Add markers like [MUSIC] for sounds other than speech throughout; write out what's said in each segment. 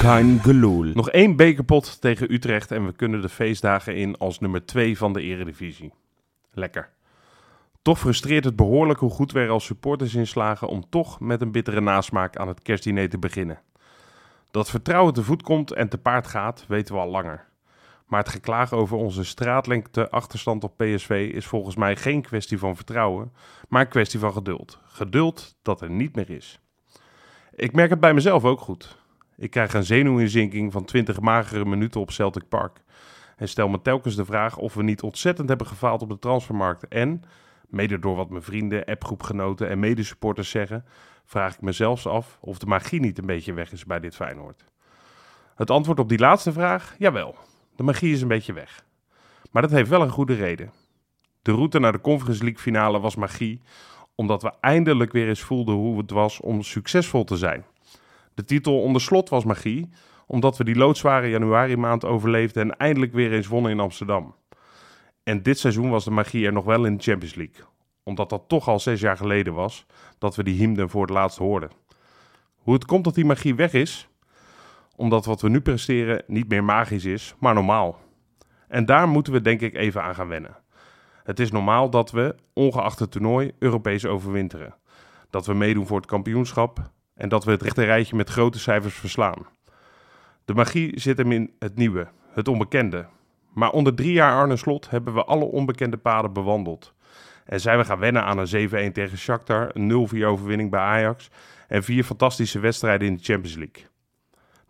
kein geloel. Nog één bekerpot tegen Utrecht en we kunnen de feestdagen in als nummer 2 van de Eredivisie. Lekker. Toch frustreert het behoorlijk hoe goed we er als supporters in slagen om toch met een bittere nasmaak aan het kerstdiner te beginnen. Dat vertrouwen te voet komt en te paard gaat, weten we al langer. Maar het geklaag over onze straatlengte achterstand op PSV is volgens mij geen kwestie van vertrouwen, maar een kwestie van geduld. Geduld dat er niet meer is. Ik merk het bij mezelf ook goed. Ik krijg een zenuwinzinking van 20 magere minuten op Celtic Park. En stel me telkens de vraag of we niet ontzettend hebben gefaald op de transfermarkt. En, mede door wat mijn vrienden, appgroepgenoten en medesupporters zeggen, vraag ik me zelfs af of de magie niet een beetje weg is bij dit Feyenoord. Het antwoord op die laatste vraag, jawel, de magie is een beetje weg. Maar dat heeft wel een goede reden. De route naar de Conference League finale was magie, omdat we eindelijk weer eens voelden hoe het was om succesvol te zijn. De titel onder slot was magie, omdat we die loodzware januari maand overleefden en eindelijk weer eens wonnen in Amsterdam. En dit seizoen was de magie er nog wel in de Champions League, omdat dat toch al zes jaar geleden was dat we die hymne voor het laatst hoorden. Hoe het komt dat die magie weg is? Omdat wat we nu presteren niet meer magisch is, maar normaal. En daar moeten we denk ik even aan gaan wennen. Het is normaal dat we, ongeacht het toernooi, Europees overwinteren. Dat we meedoen voor het kampioenschap en dat we het rechte rijtje met grote cijfers verslaan. De magie zit hem in het nieuwe, het onbekende. Maar onder drie jaar Arne Slot hebben we alle onbekende paden bewandeld. En zijn we gaan wennen aan een 7-1 tegen Shakhtar, een 0-4 overwinning bij Ajax en vier fantastische wedstrijden in de Champions League.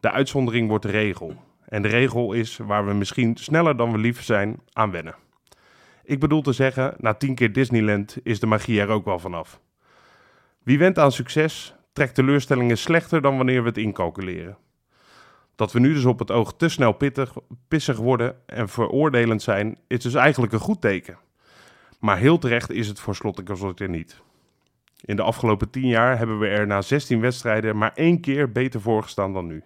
De uitzondering wordt de regel. En de regel is waar we misschien sneller dan we lief zijn aan wennen. Ik bedoel te zeggen, na tien keer Disneyland is de magie er ook wel vanaf. Wie went aan succes, trekt teleurstellingen slechter dan wanneer we het incalculeren. Dat we nu dus op het oog te snel pittig, pissig worden en veroordelend zijn, is dus eigenlijk een goed teken. Maar heel terecht is het voor Slot en Consort er niet. In de afgelopen 10 jaar hebben we er na 16 wedstrijden maar één keer beter voor gestaan dan nu.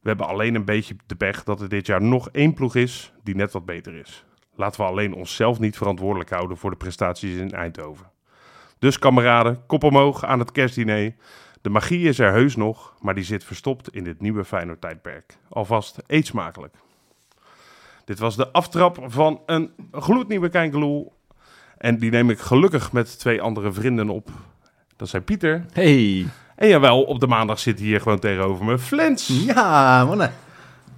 We hebben alleen een beetje de pech dat er dit jaar nog één ploeg is die net wat beter is. Laten we alleen onszelf niet verantwoordelijk houden voor de prestaties in Eindhoven. Dus kameraden, kop omhoog aan het kerstdiner. De magie is er heus nog, maar die zit verstopt in dit nieuwe Feyenoord tijdperk. Alvast eet smakelijk. Dit was de aftrap van een gloednieuwe Kijkeloel. En die neem ik gelukkig met twee andere vrienden op. Dat zijn Pieter. Hey. En jawel, op de maandag zit hier gewoon tegenover me Flens. Mhm. Ja, mannen.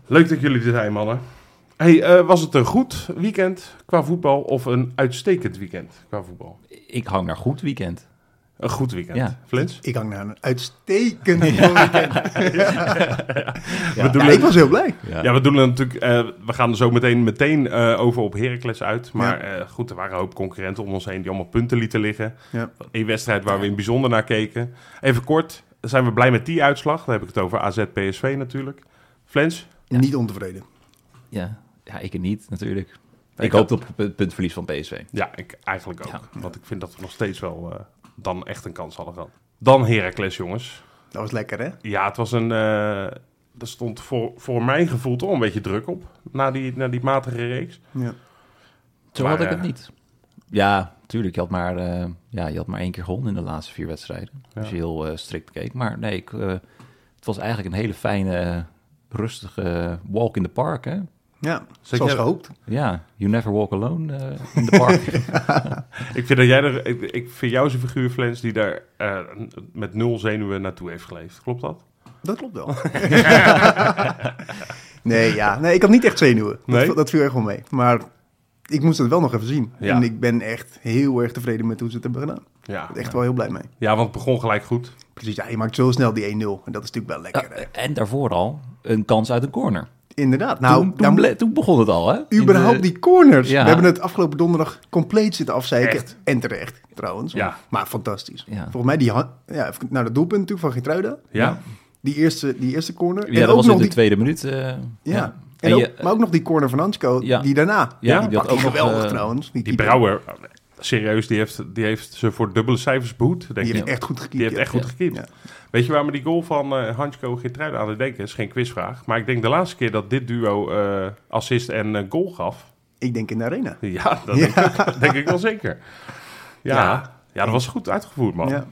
Leuk dat jullie er zijn, mannen. Hey, eh, was het een goed weekend qua voetbal of een uitstekend weekend qua voetbal? Ik hang naar goed weekend. Een goed weekend. Ja. Flens? Ik hang naar een uitstekend weekend. We doen Ja, het- ik was heel blij. Ja, we doen het natuurlijk. eh, we gaan er zo meteen, meteen eh, over op Heracles uit. Maar eh, goed, er waren een hoop concurrenten om ons heen die allemaal punten lieten liggen. Ja. Een wedstrijd waar we in bijzonder naar keken. Even kort, zijn we blij met die uitslag? Dan heb ik het over AZ PSV natuurlijk. Flens? Ja. Niet ontevreden. Ja, ja ik niet natuurlijk. Ik, Ik hoopte op het punt- puntverlies van PSV. Ja, ik eigenlijk ook. Ja. Want ik vind dat we nog steeds wel eh, dan echt een kans hadden gehad. Dan Heracles, jongens. Dat was lekker, hè? Ja, het was een. eh er stond voor, voor mijn gevoel toch een beetje druk op. Na die, na die matige reeks. Ja. Zo Maar, had ik eh, het niet. Ja, tuurlijk. Je had maar, eh, ja, je had maar één keer gewonnen in de laatste vier wedstrijden. Ja. Als je heel eh, strikt keek. Maar nee, ik, eh, het was eigenlijk een hele fijne, eh, rustige walk in the park. Hè? ja. Zeg Zoals jij- gehoopt. Ja, you never walk alone eh, in the park. Ik vind, dat jij er, ik, ik vind jou zo'n figuur, Flens, die daar eh, met nul zenuwen naartoe heeft geleefd. Klopt dat? Dat klopt [LAUGHS] wel. nee, ja. Nee, ik had niet echt zenuwen. Nee? Dat, dat viel echt wel mee. Maar ik moest het wel nog even zien. Ja. En ik ben echt heel erg tevreden met hoe ze het hebben gedaan. Ja. Echt wel heel blij mee. ja, want het begon gelijk goed. Precies, ja, je maakt zo snel die 1-0. En dat is natuurlijk wel Ja, lekker. hè? en daarvoor al een kans uit een corner. Inderdaad. Nou, toen, toen, daar- ble- toen begon het al, hè? In Überhaupt de- die corners. Ja. We hebben het afgelopen donderdag compleet zitten afzeiken. Echt. En terecht, trouwens. Ja. Maar fantastisch. Ja. Volgens mij die... han- Ja, even naar dat doelpunt natuurlijk van Gitruida. Ja. Die eerste, die eerste Ja, corner. en dat ook was in nog de die, tweede minuut. eh, Ja. ja. En En ook- je- maar ook nog die corner van Hansko. Ja. Die daarna. Ja, die die had pakt hij ook nog, geweldig eh, trouwens. Die keeper. Brouwer, serieus, die heeft, die heeft ze voor dubbele cijfers behoed, denk Die ik. heeft echt goed gekeken. Die heeft echt goed gekiept. Ja. Weet je waar me die goal van eh Hansko Geertruiden aan het denken is? Geen quizvraag. Maar ik denk de laatste keer dat dit duo eh, assist en eh, goal gaf. [LAUGHS] Ik denk in de arena. Ja, dat Ja. Denk, ik, denk ik wel zeker. Ja. ja. Ja. dat was goed uitgevoerd, man. Ja.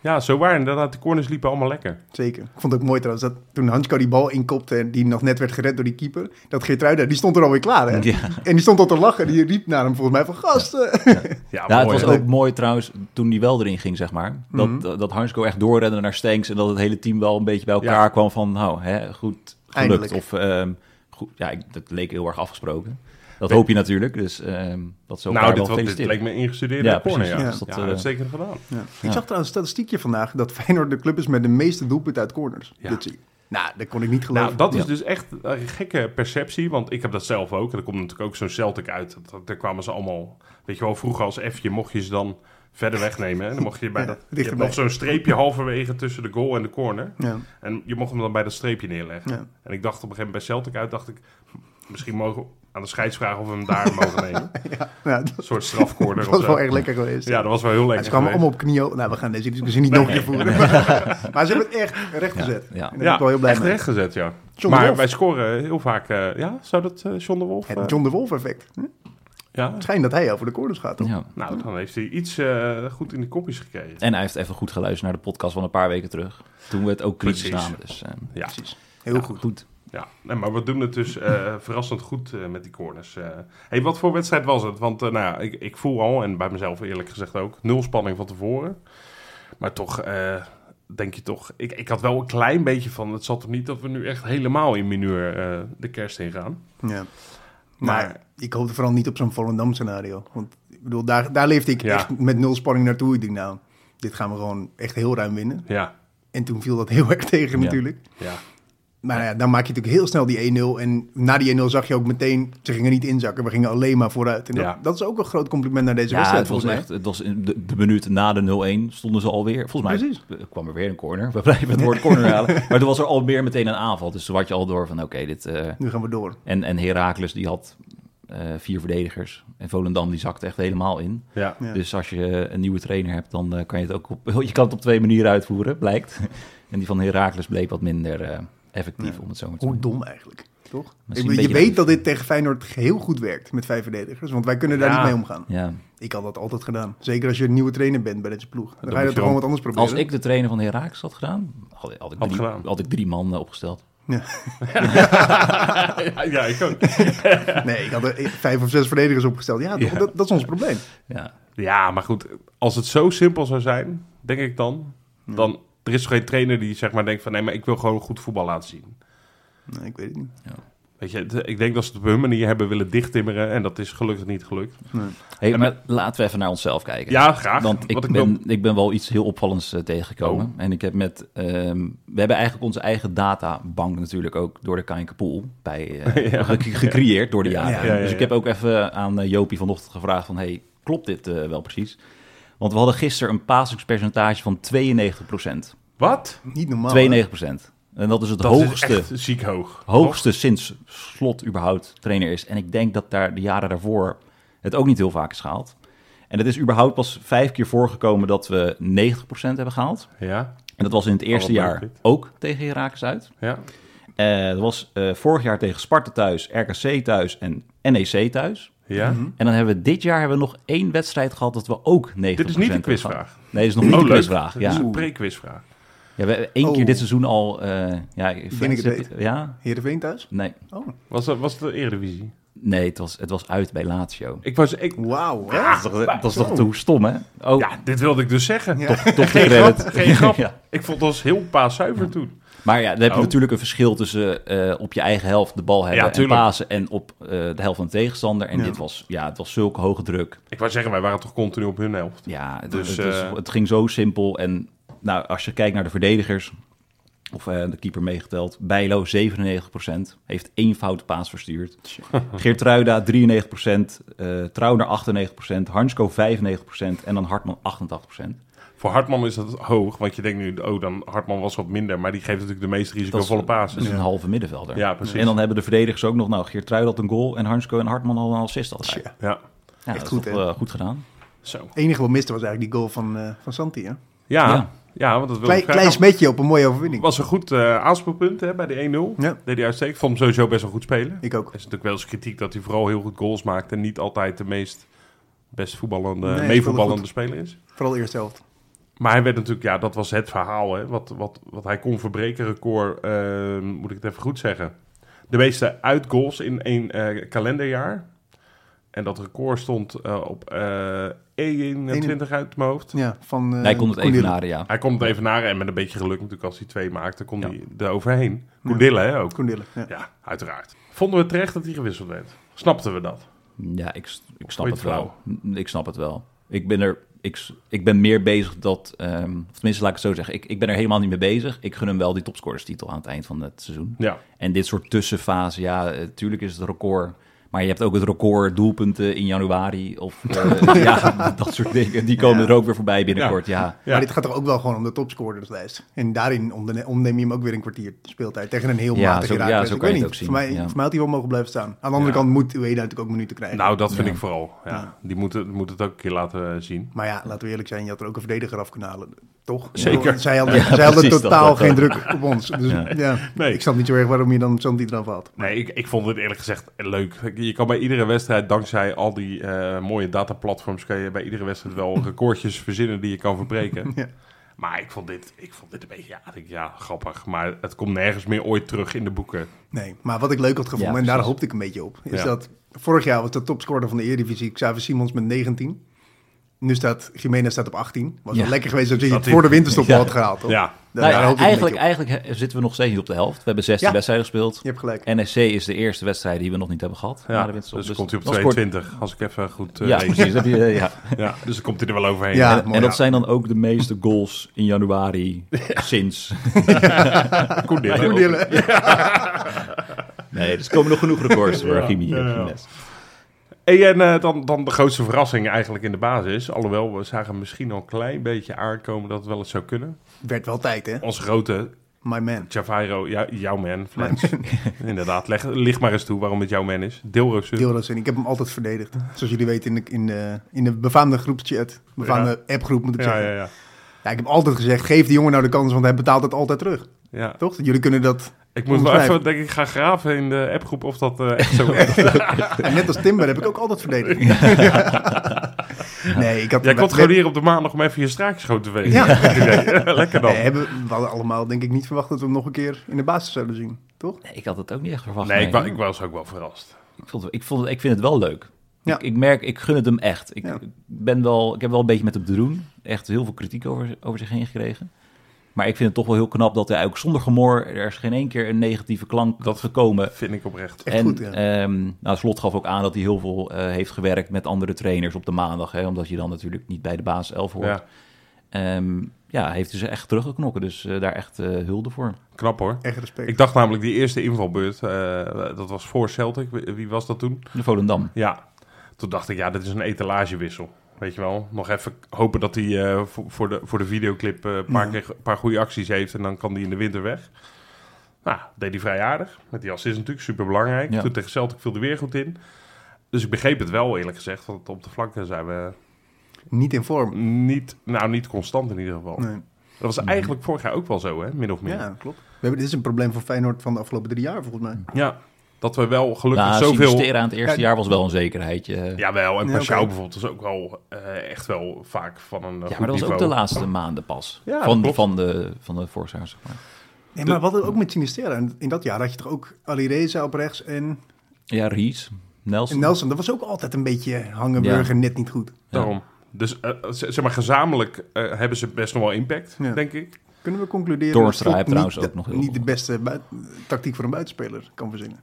Ja, zo waar. Inderdaad, de corners liepen allemaal lekker. Zeker. Ik vond het ook mooi trouwens dat toen Hansko die bal inkopte en die nog net werd gered door die keeper, dat Geertruida, die stond er alweer klaar hè. Ja. En die stond al te lachen, die riep naar hem volgens mij van gasten. Ja, Ja, het mooi, was hè? ook mooi trouwens toen die wel erin ging, zeg maar. Dat, Mhm. dat, dat Hansko echt doorrende naar Stenks en dat het hele team wel een beetje bij elkaar Ja. kwam van, nou, hè, goed gelukt. Eindelijk. Of, ehm, goed, ja, ik, dat leek heel erg afgesproken. Dat hoop je natuurlijk, dus ehm, dat zo Nou, dit, wel was, dit feliciteren. leek me ingestudeerde Ja, corner. precies. Ja, Ja. Dus dat, Ja, eh, uitstekend gedaan. Ik zag trouwens een statistiekje vandaag dat Feyenoord de club is met de meeste doelpunten uit corners. Ja. Dit zie ik. Nou, dat kon ik niet geloven. Nou, dat is Ja. dus echt een gekke perceptie, want ik heb dat zelf ook. En er komt natuurlijk ook zo'n Celtic uit. Dat- dat- Daar kwamen ze allemaal, weet je wel, vroeger als F'je mocht je ze dan verder wegnemen. En dan mocht je bij Ja, dat, je hebt dichterbij. nog zo'n streepje halverwege tussen de goal en de corner. Ja. En je mocht hem dan bij dat streepje neerleggen. Ja. En ik dacht op een gegeven moment bij Celtic uit, dacht ik, "Hm, misschien mogen we aan de scheids vragen of we hem daar [LAUGHS] mogen nemen. Ja, dat Een soort strafcorner dat of was zo. wel echt lekker geweest. Ja, dat was wel heel Ja, lekker ze kwamen geweest. allemaal op knieën. Nou, we gaan deze discussie niet nog een keer voeren. [LAUGHS] maar ze hebben het echt recht gezet. Ja, ja. En daar ben ik wel heel blij echt mee. rechtgezet, ja. John maar de Wolf. wij scoren heel vaak... eh, ja, zou dat eh, John de Wolf... eh, Het John de Wolf effect. Hm? Het ja, schijnt dat hij over de corners gaat. toch? Ja. nou, dan heeft hij iets eh, goed in de kopjes gekregen. En hij heeft even goed geluisterd naar de podcast van een paar weken terug. Toen we het ook kritisch Precies. namen. Dus, ehm, Ja, Precies. Heel ja, goed. goed. ja. Nee, maar we doen het dus eh, [LAUGHS] verrassend goed eh, met die corners. eh. hey, wat voor wedstrijd was het? Want eh, nou, ja, ik, ik voel al, en bij mezelf eerlijk gezegd ook, nul spanning van tevoren. Maar toch... eh, Denk je toch, ik, ik had wel een klein beetje van. Het zat er niet dat we nu echt helemaal in minuur eh, de kerst in gaan. Ja. Maar, Maar- ik hoopte vooral niet op zo'n Volendam scenario. Want ik bedoel, daar, daar leefde ik Ja. echt met nul spanning naartoe. Ik denk, nou, dit gaan we gewoon echt heel ruim winnen. Ja, En toen viel dat [LAUGHS] heel erg tegen Ja. natuurlijk. ja. Maar ja, dan maak je natuurlijk heel snel die 1-0. En na die 1-0 zag je ook meteen, ze gingen niet inzakken. We gingen alleen maar vooruit. En dat, Ja. dat is ook een groot compliment naar deze Ja, wedstrijd het was volgens mij. echt, het was in de, de minuut na de 0-1 stonden ze alweer. Volgens mij kwam er weer een corner. We blijven het woord corner [LAUGHS] halen. Maar toen was er al meer meteen een aanval. Dus toen had je al door van oké, dit... eh, Nu gaan we door. en, en Heracles die had eh, vier verdedigers. En Volendam die zakte echt helemaal in. ja. Ja. Dus als je een nieuwe trainer hebt, dan eh, kan je het ook op, [LAUGHS] je kan het op twee manieren uitvoeren, [LAUGHS] blijkt. En die van Heracles bleek wat minder eh, effectief, om het zo maar te Hoe zeggen. dom eigenlijk, toch? Ik Misschien bedoel, een je beetje weet dat dit tegen Feyenoord heel goed werkt met vijf verdedigers. Want wij kunnen daar Ja. niet mee omgaan. Ja. Ik had dat altijd gedaan. Zeker als je een nieuwe trainer bent bij deze ploeg. Dan, Dan ga je moet dat je gewoon wel- wat anders proberen. Als ik de trainer van Heracles had gedaan, had, had, ik, Had drie, gedaan. had ik drie man eh, opgesteld. ja, [LAUGHS] ja, ik ook. [LAUGHS] Nee, ik had er vijf of zes verdedigers opgesteld. Ja, toch? Ja. Dat, dat is ons probleem. Ja. Ja, maar goed, als het zo simpel zou zijn, denk ik dan, dan er is geen trainer die zeg maar denkt van nee, maar ik wil gewoon goed voetbal laten zien. Nee, ik weet het niet. Weet je, het- ik denk dat ze het op hun manier hebben willen dichttimmeren en dat is gelukkig niet gelukt. Hey, En maar laten we even naar onszelf kijken. Ja, graag. Want ik, want ik ben, wil- Oh. ik ben wel iets heel opvallends eh, tegengekomen. En ik heb met... ehm, we hebben eigenlijk onze eigen databank natuurlijk ook door de Kainkapoel bij eh, [LAUGHS] Ja. ge- gecreëerd door de jaren. Ja, ja, ja, Dus ik ja. heb ook even aan eh, Jopie vanochtend gevraagd van... Hey, klopt dit eh, wel precies? Want we hadden gisteren een passingspercentage van 92 procent. Wat? Niet normaal. 92 procent. En dat is het Dat hoogste, is echt ziek hoog. hoogste sinds Slot überhaupt trainer is. En ik denk dat daar de jaren daarvoor het ook niet heel vaak is gehaald. En het is überhaupt pas vijf keer voorgekomen dat we 90% hebben gehaald. Ja, En dat was in het eerste Oh, wat jaar leuk dit. ook tegen Herakles uit. ja. Eh, dat was eh, vorig jaar tegen Sparta thuis, RKC thuis en NEC thuis. Ja, En dan hebben we dit jaar hebben we nog één wedstrijd gehad dat we ook 90% dit is niet een hebben quizvraag. Oh, gehad. Nee, dit is nog niet een leuk. quizvraag. Dit is Ja. een pre-quizvraag. ja, we hebben één keer Oh. dit seizoen al... eh ja, Ben ik het Ja? Heerenveen thuis? Nee. Oh, Was dat was het de Eredivisie? Nee, het was, het was uit bij Lazio. Ik was, ik, Oh. wauw. hè? Dat is toch, dat is toch te stom, hè? Oh, ja, dit wilde ik dus zeggen. Ja. toch [LAUGHS] Geen grap, geen [LAUGHS] grap. Ja. Ik vond ons heel paaszuiver toen. Maar ja, dan heb je Oh. natuurlijk een verschil tussen eh, op je eigen helft de bal hebben en tuurlijk. pasen en op eh, de helft van de tegenstander. En Ja. dit was, ja, het was zulke hoge druk. Ik wou zeggen, wij waren toch continu op hun helft. Ja, het, Dus, het, is- eh, het ging zo simpel. En nou, als je kijkt naar de verdedigers, of eh, de keeper meegeteld, Bijlo 97%, heeft één foute paas verstuurd. [LAUGHS] Geertruida 93%, eh Trauner 98%, Hansko 95% en dan Hartman 88%. Voor Hartman is dat hoog, want je denkt nu, oh, dan Hartman was wat minder, maar die geeft natuurlijk de meest risicovolle Dat paas. is een halve middenvelder. Ja, precies. En dan hebben de verdedigers ook nog, nou, Geertrui had een goal en Hansko en Hartman al een assist altijd. Ja, Ja, dat Echt is goed, toch, hè? eh, goed gedaan. zo. Het enige wat miste was eigenlijk die goal van, eh, van Santi. Hè? Ja, Ja. ja. want dat wil Klein, ik graag- klein smetje op een mooie overwinning. was een goed eh aanspeelpunt hè, bij de 1-0. Ja. Deed hij uitstekend. Vond hem sowieso best wel goed spelen. Ik Er ook. is natuurlijk wel eens kritiek dat hij vooral heel goed goals maakt en niet altijd de meest best voetballende, Nee, hij speelde meevoetballende goed. speler is. Vooral de eerste helft. Maar hij werd natuurlijk, ja, dat was het verhaal. Hè? Wat, wat, wat hij kon verbreken, record, eh, moet ik het even goed zeggen. De meeste uitgoals in één eh, kalenderjaar. En dat record stond eh, op eh 21 uit mijn hoofd. Ja, van... eh, hij kon het Cornelissen. evenaren, ja. Hij komt het even naar en met een beetje geluk natuurlijk als hij twee maakte, kon Ja. hij er overheen. Koedille, hè, ook. Cornelissen, ja. Ja, uiteraard. Vonden we terecht dat hij gewisseld werd? Snapten we dat? Ja, ik, s- ik snap je het het wel. N- Ik snap het wel. Ik ben er... Ik, s- ik ben meer bezig dat... ehm, of tenminste, laat ik het zo zeggen. Ik, ik ben er helemaal niet mee bezig. Ik gun hem wel die topscorerstitel aan het eind van het seizoen. Ja. En dit soort tussenfase, ja, eh, tuurlijk is het record. Maar je hebt ook het record doelpunten in januari. Of eh, [LAUGHS] ja, [LAUGHS] dat soort dingen. Die komen Ja. er ook weer voorbij binnenkort, ja. Ja. Maar dit gaat toch ook wel gewoon om de topscorerslijst. En daarin onderne- ontneem je hem ook weer een kwartier speeltijd tegen een heel Ja, matig zo- ja, Heracles. zo Ik kan weet je het niet, ook zien, Voor mij, ja. voor mij had hij wel mogen blijven staan. Aan de Ja. andere kant moet Ueda natuurlijk ook minuten krijgen. Nou, dat vind Ja. ik vooral. Ja. Die moet het, moet het ook een keer laten eh, zien. Maar ja, laten we eerlijk zijn, je had er ook een verdediger af kunnen halen, toch? Zeker. Ik bedoel, Zij hadden, Ja, zij hadden precies, totaal dat- dat- geen druk op ons. Dus ja. Nee. Ik snap niet zo erg waarom je dan zo'n eraf had. Nee, ik, ik vond het eerlijk gezegd leuk. Je kan bij iedere wedstrijd, dankzij al die eh, mooie dataplatforms, kan je bij iedere wedstrijd [LAUGHS] wel recordjes verzinnen die je kan verbreken. Ja. Maar ik vond, dit, ik vond dit een beetje, ja, ik denk, ja, grappig. Maar het komt nergens meer ooit terug in de boeken. Nee, maar wat ik leuk had gevonden, Ja, en daar precies. hoopte ik een beetje op, is Ja. dat vorig jaar was de topscorer van de Eredivisie Xavier Simons met 19. Nu staat Jiménez staat op 18. Was Ja. wel lekker geweest als je Dat het is- voor de winterstop Ja. had gehaald, toch? Ja, Daar, daar Nou, hoopte ik een eigenlijk beetje op. eigenlijk he- zitten we nog steeds niet op de helft. We hebben 16 Ja. wedstrijden gespeeld. Je hebt gelijk. NSC is de eerste wedstrijd die we nog niet hebben gehad. na ja de dus, winterstop. komt hij op dan scoort- 22, als ik even goed [LAUGHS] eh, Ja, reken. precies. Dat heb je, eh, ja. Ja, dus dan komt hij er wel overheen. Ja, en, mooi, en dat ja. zijn dan ook de meeste goals in [LAUGHS] januari sinds. Koen Dillen. Goed, Dylan. Nee, dus komen nog genoeg records voor Jimmy. ja, ja. Jiménez. Hey, en eh, dan, dan de grootste verrassing eigenlijk in de basis. Alhoewel, we zagen misschien al een klein beetje aankomen dat het wel eens zou kunnen. Werd wel tijd, hè? Onze grote My man. Javairo, jou- jouw man, [LAUGHS] Flens. Inderdaad, leg, lig maar eens toe waarom het jouw man is. Deelroosje. Dilrosun, ik heb hem altijd verdedigd. Zoals jullie weten in de, in de, in de befaamde groepschat, befaamde appgroep moet ik ja, zeggen. ja, Ja, ja. ik heb altijd gezegd, geef die jongen nou de kans, want hij betaalt het altijd terug. ja. Toch? Jullie kunnen [LAUGHS] dat... Ik moet wel Ongetwijfeld. even, denk ik, gaan graven in de appgroep of dat eh, echt zo [LAUGHS] is. En net als Timber heb ik ook altijd verdedigd. [LAUGHS] nee, ik had... Jij komt we- gewoon hier op de maandag om even je straatjes schoon te wegen. [LAUGHS] Ja. Lekker we, dan. hebben, we hadden allemaal denk ik niet verwacht dat we hem nog een keer in de basis zouden zien. Toch? Nee, ik had het ook niet echt verwacht. Nee, ik, wa- nee. ik was ook wel verrast. Ik, vond, het- ik, vond, het- ik vind het wel leuk. Ja. Ik, ik merk, ik gun het hem echt. Ik, Ja. ben wel, ik heb wel een beetje met hem te doen. Echt heel veel kritiek over, over zich heen gekregen. Maar ik vind het toch wel heel knap dat hij ook zonder gemor... er is geen één keer een negatieve klank Dat- dat gekomen. Vind ik oprecht. Eh, Echt en goed, ja. ehm, nou, Slot gaf ook aan dat hij heel veel eh, heeft gewerkt met andere trainers op de maandag. Hè, omdat je dan natuurlijk niet bij de baas 11 hoort. Ja, Ehm, ja, heeft hij ze echt teruggeknokken. Dus eh, daar echt eh, hulde voor. knap hoor. Echt respect. Ik dacht namelijk, die eerste invalbeurt, eh, dat was voor Celtic. Wie wie was dat toen? De Volendam. Ja, toen dacht ik, ja, dit is een etalagewissel. Weet je wel, nog even hopen dat hij eh, voor, voor, de, voor de videoclip eh, een paar, Ja. keer, een paar goede acties heeft en dan kan hij in de winter weg. Nou, deed hij vrij aardig. Met die assist natuurlijk super belangrijk. Ja. Toen tegen Celtic viel er weer goed in. Dus ik begreep het wel, eerlijk gezegd, want op de flanken zijn we Niet in vorm. niet, nou, niet constant in ieder geval. Nee. Dat was eigenlijk vorig jaar ook wel zo, hè, min of meer. Ja, klopt. We hebben, dit is een probleem voor Feyenoord van de afgelopen drie jaar volgens mij. Ja, dat we wel gelukkig Nou, zoveel... Sinistera aan het eerste Ja, jaar was wel een zekerheidje. eh, Ja, Jawel, en Ja, Pashao oké. bijvoorbeeld was ook wel eh, echt wel vaak van een eh, Ja, maar dat was ook de laatste maanden pas. Ja, dat van, klopt. van de, van de voorzaar, zeg maar. Nee, maar wat ook met Sinistera. En In dat jaar had je toch ook Alireza op rechts en, Ja, Ries, Nelson. en Nelson. Dat was ook altijd een beetje hangenburger, net niet goed. Daarom. Dus eh, z- zeg maar, gezamenlijk eh, hebben ze best nog wel impact, Ja. denk ik. Kunnen we concluderen Toornstra dat Slot heeft trouwens niet de- ook nog heel niet goed. de beste buit- tactiek voor een buitenspeler kan verzinnen.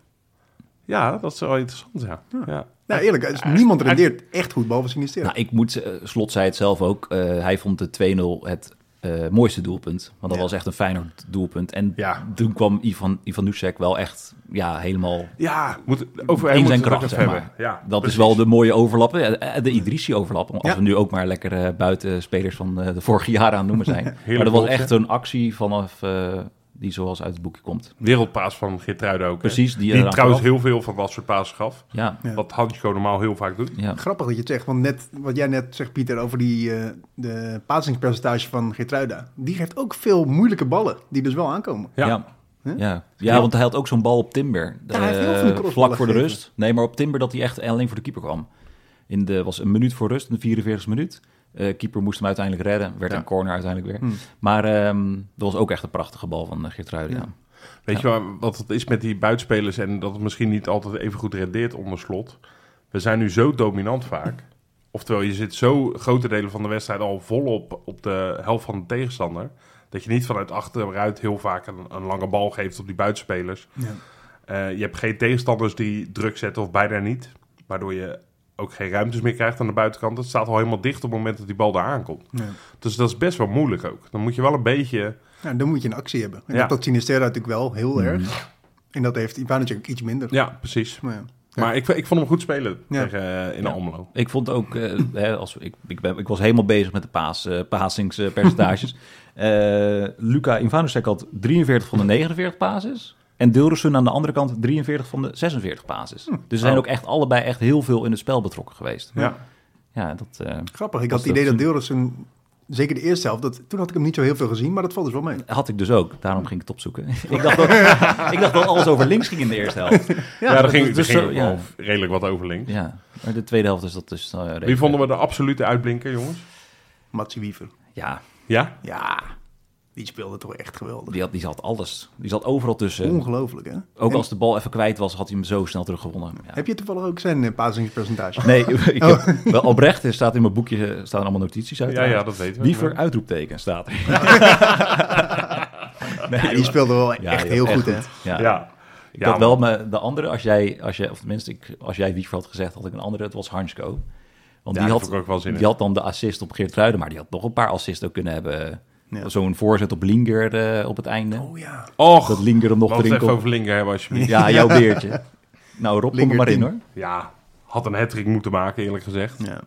Ja, dat is wel interessant, ja. ja. Nou, eerlijk, als niemand rendeert echt goed behalve Sinistera. Nou, ik moet, eh, Slot zei het zelf ook, eh, hij vond de 2-0 het eh, mooiste doelpunt. Want dat Ja. was echt een Feyenoord doelpunt. En Ja. toen kwam Ivan, Ivan Nusek wel echt ja, helemaal Ja, moet, over in zijn hem moeten we het kracht, ook zeg even maar. hebben. Ja, dat precies. is wel de mooie overlap, eh, eh, de Idrissi-overlap. Als Ja. we nu ook maar lekker eh, buitenspelers van eh, de vorige jaren aan het noemen [LAUGHS] zijn. maar dat was doelpunt, echt hè? een actie vanaf... eh, die zoals uit het boekje komt. Wereldpaas van Geertruiden ook. hè. Precies, die Die, eraan trouwens gaf. heel veel van dat soort paas gaf. Ja, Ja. Wat Hansko normaal heel vaak doet. ja. Grappig dat je het zegt, want net wat jij net zegt, Pieter, over die eh, de pasingspercentage van Gertruida. Die geeft ook veel moeilijke ballen, die dus wel aankomen. Ja. Ja. Ja. Huh? Ja. Ja. want hij had ook zo'n bal op Timber. Ja, hij heeft heel veel Eh, crossballen vlak voor de gegeven. rust. Nee, maar op Timber dat hij echt alleen voor de keeper kwam. In de, was een minuut voor rust, in de 44e minuut. Eh, keeper moest hem uiteindelijk redden. Werd Ja. een corner uiteindelijk weer. Hmm. Maar ehm, dat was ook echt een prachtige bal van eh, Geertruida. Ja. Weet je waar- wat het is met die buitenspelers en dat het misschien niet altijd even goed rendeert onder slot? We zijn nu zo dominant vaak. Oftewel, je zit zo grote delen van de wedstrijd al volop op de helft van de tegenstander. Dat je niet vanuit achteruit heel vaak een, een lange bal geeft op die buitenspelers. Ja. Eh, je hebt geen tegenstanders die druk zetten of bijna niet. Waardoor je ook geen ruimtes meer krijgt aan de buitenkant. Het staat al helemaal dicht op het moment dat die bal daar aankomt. Ja. Dus dat is best wel moeilijk ook. Dan moet je wel een beetje... Ja, dan moet je een actie hebben. En Ja. dat had Sinisterra natuurlijk wel heel erg. En dat heeft Ivanovic ook iets minder. Ja, precies. Maar ja. Maar ik, ik vond hem goed spelen Ja. tegen, eh, in Ja. Almelo. Ik vond ook, eh, hè, als, ik, ik, ben, ik was helemaal bezig met de paas, eh, [LAUGHS] pasingspercentages. Eh, Luca Ivanusek had 43 van de 49 pases. En Dilrussen aan de andere kant 43 van de 46 pases. Dus ze zijn Oh. ook echt allebei echt heel veel in het spel betrokken geweest. Ja. Ja, dat, eh, Grappig, ik Was had het dat idee dat een- Deelrussen, zeker de eerste helft, dat, toen had ik hem niet zo heel veel gezien, maar dat valt dus wel mee. had ik dus ook. Daarom ging ik het opzoeken. [LAUGHS] ik, dacht dat, [LAUGHS] ik dacht dat alles over links ging in de eerste helft. Ja, daar ging, dus daar ging zo- ook ja. wel redelijk wat over links. Ja, maar de tweede helft is dat dus... eh, Wie redelijk- vonden we de absolute uitblinker, jongens? Matsi Wiever. Ja, Ja? Ja, die speelde toch echt geweldig. die, had, die zat alles. Die zat overal tussen. Ongelooflijk, hè? Ook En als de bal even kwijt was, had hij hem zo snel teruggewonnen. Ja. Heb je toevallig ook zijn eh, pasingspercentage? Nee, [LAUGHS] ik heb, Oh. wel Albrecht er staat in mijn boekje eh, staan allemaal notities uit. Ja, ja, dat weten we. Wiever uitroepteken staat er. Ja, die speelde wel Ja, echt joh, heel goed, hè? Ja. Ja. ja. Ik had wel me, de andere, als jij, als jij, of tenminste, ik, als jij Wiever had gezegd, had ik een andere, het was Hansko. Want Ja, die, had, daar heb ik ook wel zin in. die had dan de assist op Geert maar die had nog een paar assists ook kunnen hebben. Ja. Zo'n voorzet op Linger eh, op het einde. Oh ja. Och, Dat Linger hem nog laten we het erin even kon. over linker hebben, alsjeblieft. Ja, [LAUGHS] jouw beertje. Nou, Rob, kom er Linger maar in tien. hoor. Ja, had een hat moeten maken, eerlijk gezegd. ja.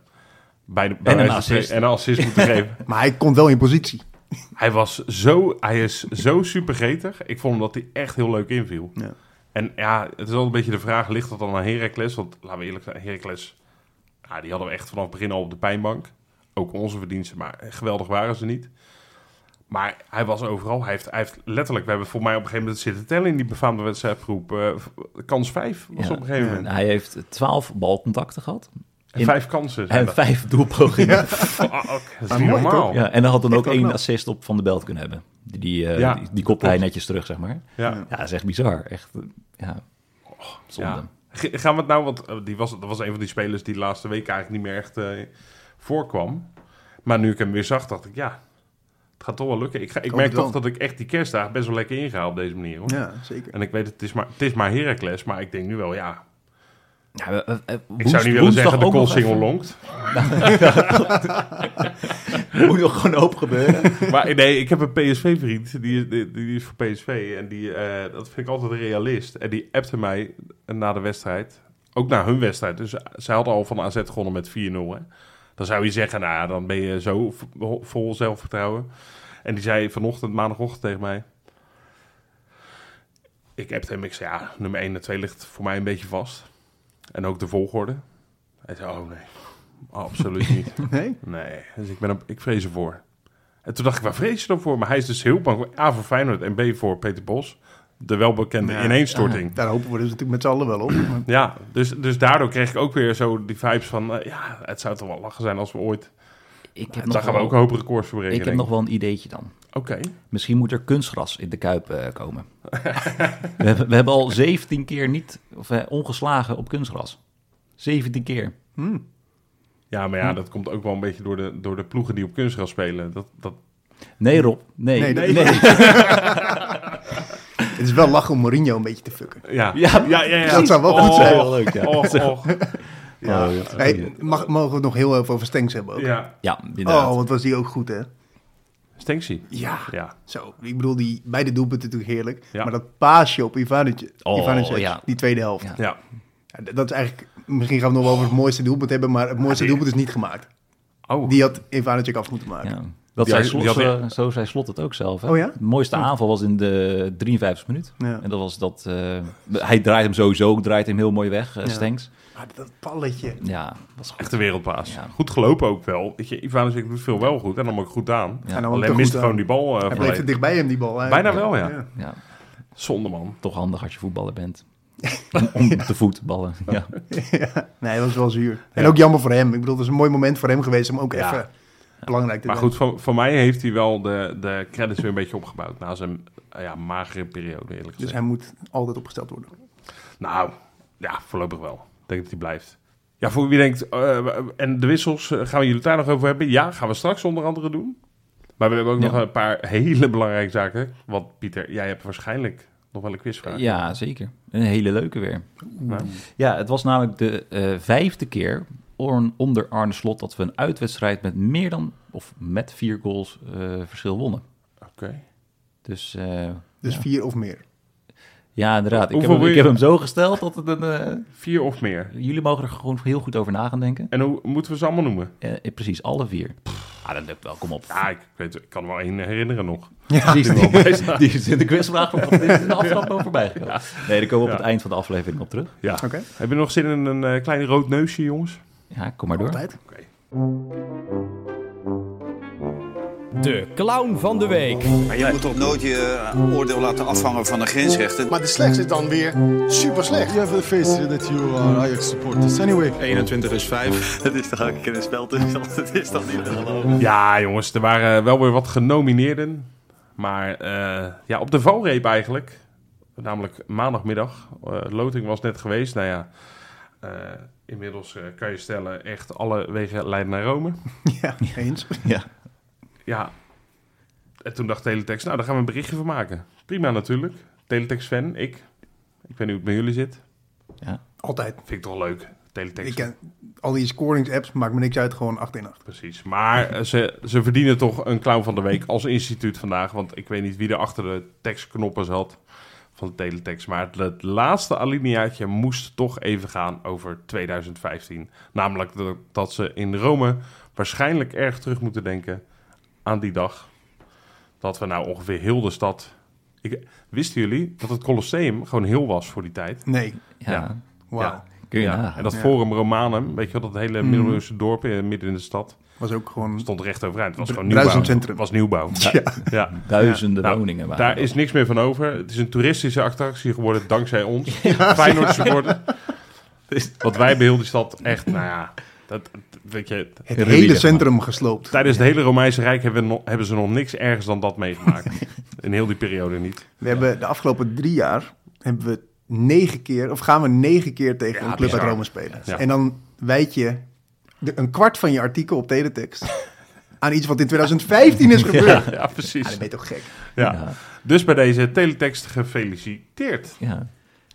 Bij de, een bij assist. En een assist moeten [LAUGHS] geven. Maar hij komt wel in positie. Hij, was zo, hij is zo supergetig. Ik vond hem dat hij echt heel leuk inviel. Ja. En ja, het is altijd een beetje de vraag, ligt dat dan aan Heracles? Want laten we eerlijk zijn, Heracles, ja, die hadden we echt vanaf het begin al op de pijnbank. Ook onze verdiensten, maar geweldig waren ze niet. Maar hij was overal, hij heeft, hij heeft letterlijk, we hebben voor mij op een gegeven moment zitten tellen in die befaamde wedstrijdgroep. eh, kans 5 was Ja. op een gegeven moment. Hij heeft 12 balcontacten gehad. En vijf kansen. [LAUGHS] zijn En dat. vijf doelpogingen. Fuck, dat is Maar niet mooi, normaal. Ja, en dan had dan Echt ook wel één knap. assist op Van de Belt kunnen hebben. Die, die, eh, Oh. Ja, die, die kopte hij netjes terug, zeg maar. Ja. Ja, dat is echt bizar. Echt, eh, ja, zonde. Oh, Ja. G- Gaan we het nou, want eh, die was, dat was een van die spelers die de laatste week eigenlijk niet meer echt eh, voorkwam. Maar nu ik hem weer zag, dacht ik, ja, het gaat toch wel lukken. Ik, ga, ik hoop merk het wel. toch dat ik echt die kerstdagen best wel lekker inga op deze manier. Hoor. Ja, zeker. En ik weet, het is maar, het is maar Heracles, maar ik denk nu wel, ja. Ja, we- we- we- Ik zou woens- niet willen woensdag zeggen de ook goal nog single even. longt. Moet nog gewoon hoop gebeuren. [LAUGHS] Maar nee, ik heb een PSV-vriend, die, is- die, die is voor PSV. En die, eh, dat vind ik altijd een realist. En die appte mij na de wedstrijd, ook na hun wedstrijd. Dus zij hadden al van AZ gewonnen met 4-0. hè. Dan zou je zeggen, nou, dan ben je zo v- vol zelfvertrouwen. En die zei vanochtend, maandagochtend tegen mij... Ik appte hem, ik zei, ja, nummer 1 en 2 ligt voor mij een beetje vast. En ook de volgorde. Hij zei, oh nee, absoluut niet. Nee? Nee, dus ik, ben er- ik vrees ervoor. En toen dacht ik, waar vrees je dan voor? Maar hij is dus heel bang. A voor Feyenoord en B voor Peter Bos. De welbekende Ja. ineenstorting. Ja, Daar hopen we dus natuurlijk met z'n allen wel op. Maar dus, dus daardoor kreeg ik ook weer zo die vibes van... eh, ja, het zou toch wel lachen zijn als we ooit... Ik heb, Daar nog gaan we wel, ook een hoop records voor ik berekenen. heb nog wel een ideetje dan. Oké. Misschien moet er kunstgras in de Kuip eh, [LAUGHS] komen. we, hebben, we hebben al 17 keer niet, of, eh, ongeslagen op kunstgras. 17 keer. Ja, maar ja, Hm. dat komt ook wel een beetje door de, door de ploegen die op kunstgras spelen. Dat, dat... Nee, Rob. Nee. Nee, nee. het is wel lachen om Mourinho een beetje te fucken. Oh, Ja. Oh, Ja, Dat zou wel goed Och, zijn. Wel leuk, ja. och, och. Ja, Hey, mag, mogen we het nog heel even over Stenks hebben ook? oh. Ja. ja inderdaad. oh, wat was die ook goed, hè? Stenxie. Ja. Ja. Zo, ik bedoel, die beide doelpunten natuurlijk heerlijk. Ja. Maar dat paasje op Ivanic, Oh, Ivanic ja. die tweede helft. Ja. Ja. Ja, d- dat is eigenlijk, misschien gaan we het nog wel over het mooiste doelpunt hebben, maar het mooiste die- doelpunt is niet gemaakt. Oh. Die had Ivanic af moeten maken. Ja. Dat Die zei had- Slot, die had zo- zo zei Slot het ook zelf. Hè? Oh ja? De mooiste aanval was in de 53 minuut. Ja. En dat was dat... eh, hij draait hem sowieso, draait hem heel mooi weg, eh, Ja. Stenks. Maar dat palletje. Ja, was goed. Echt een wereldpaas. Ja. Goed gelopen ook wel. Weet je, Ivanovic doet veel wel goed en nam ook goed aan. Ja. En dan Alleen ook miste goed, gewoon die eh, bal. eh, Hij bleef volledig. er dichtbij hem, die bal. Hij- Bijna wel, ja. Ja, Zonde man. toch handig als je voetballer [LAUGHS] bent. om, om te voet ballen. [LAUGHS] Ja. Ja. Nee, dat was wel zuur. En ook jammer voor hem. Ik bedoel, het is een mooi moment voor hem geweest om ook Ja. even belangrijk. te Maar zijn. goed, voor, voor mij heeft hij wel de, de credits weer een beetje opgebouwd na zijn eh, ja, magere periode, eerlijk Dus gezegd. hij moet altijd opgesteld worden. Nou, ja, voorlopig wel. Ik denk dat hij blijft. Ja, voor wie denkt, eh, en de wissels, eh, gaan we jullie daar nog over hebben? Ja, gaan we straks onder andere doen. Maar we hebben ook Ja. nog een paar hele belangrijke zaken. Want Pieter, jij hebt waarschijnlijk nog wel een quizvraag. Ja, zeker. Een hele leuke weer. Nou, Ja, het was namelijk de eh, vijfde keer on- onder Arne Slot dat we een uitwedstrijd met meer dan of met vier goals eh, verschil wonnen. Oké. Dus eh, Dus Ja. vier of meer. ja, inderdaad. Ik heb, Hoeveel hem, wil ik je? heb hem zo gesteld dat het een. eh, Vier of meer. jullie mogen er gewoon heel goed over na gaan denken. En hoe moeten we ze allemaal noemen? Eh, eh, precies, alle vier. Ah, dat lukt wel, kom op. Ja, ik, weet, ik kan er wel één herinneren nog. Precies, [LAUGHS] die, die is in de quizvraag van dat is in de aftrap al voorbij gekomen. Nee, daar komen we op Ja. het eind van de aflevering op terug. Ja. Oké. Heb je nog zin in een eh, klein rood neusje, jongens? Ja, kom maar door. Altijd. Oké. De clown van de week. Maar je moet toch nooit je eh, oordeel laten afhangen van de grensrechten. Maar de slechtste is dan weer super slecht. Oh. You have to face it that you are eh, Ajax supporters anyway. 21 is 5. [LAUGHS] Dat is toch ook een keer een spel tussen [LAUGHS] ons? Dat is toch niet te geloven? Ja, jongens, er waren wel weer wat genomineerden. Maar eh, ja, op de valreep eigenlijk. Namelijk maandagmiddag. Eh, loting was net geweest. Nou ja, eh, inmiddels eh, kan je stellen, echt alle wegen leiden naar Rome. [LAUGHS] Ja, eens. Ja. Ja, en toen dacht Teletext, nou, daar gaan we een berichtje van maken. Prima natuurlijk. Teletext-fan, ik. Ik weet niet hoe het bij jullie zit. Altijd. Vind ik toch leuk, Teletext. Ik eh, ken al die scorings-apps, maakt me niks uit, gewoon 8 in 8. Precies. Maar eh, ze, ze verdienen toch een clown van de week als instituut vandaag. Want ik weet niet wie er achter de tekstknoppen zat van de teletext. Maar het, het laatste alineaatje moest toch even gaan over 2015. Namelijk dat, dat ze in Rome waarschijnlijk erg terug moeten denken aan die dag. Dat we nou ongeveer heel de stad... Ik, wisten jullie dat het Colosseum gewoon heel was voor die tijd? Nee, Ja, Ja. wauw. Ja. kun je Ja, nagaan. en dat Forum Romanum, weet je wel, dat hele middeleeuwse dorp eh, midden in de stad Was ook [LAUGHS] gewoon... stond recht overeind. Het was gewoon nieuwbouw. Bruisend centrum. was nieuwbouw. Ja. ja. Duizenden Nou, woningen waren Daar dat. is niks meer van over. Het is een toeristische attractie geworden dankzij [LAUGHS] ons. Feyenoord supporter. [LAUGHS] Want wij hebben heel die stad echt, nou ja... Dat, dat- weet je, Het Ruïne, hele maar. centrum gesloopt. tijdens het hele Romeinse Rijk hebben, we nog- hebben ze nog niks ergens dan dat [LAUGHS] meegemaakt. In heel die periode niet. We hebben de afgelopen drie jaar hebben we negen keer, of gaan we negen keer tegen Ja, een club uit bizar. Rome spelen. Ja. En dan wijd je de- een kwart van je artikel [LAUGHS] op teletext aan iets wat in 2015 is gebeurd. Ja. Ja, dan precies. ben je toch gek. Ja. Dus bij deze teletext gefeliciteerd. Ja.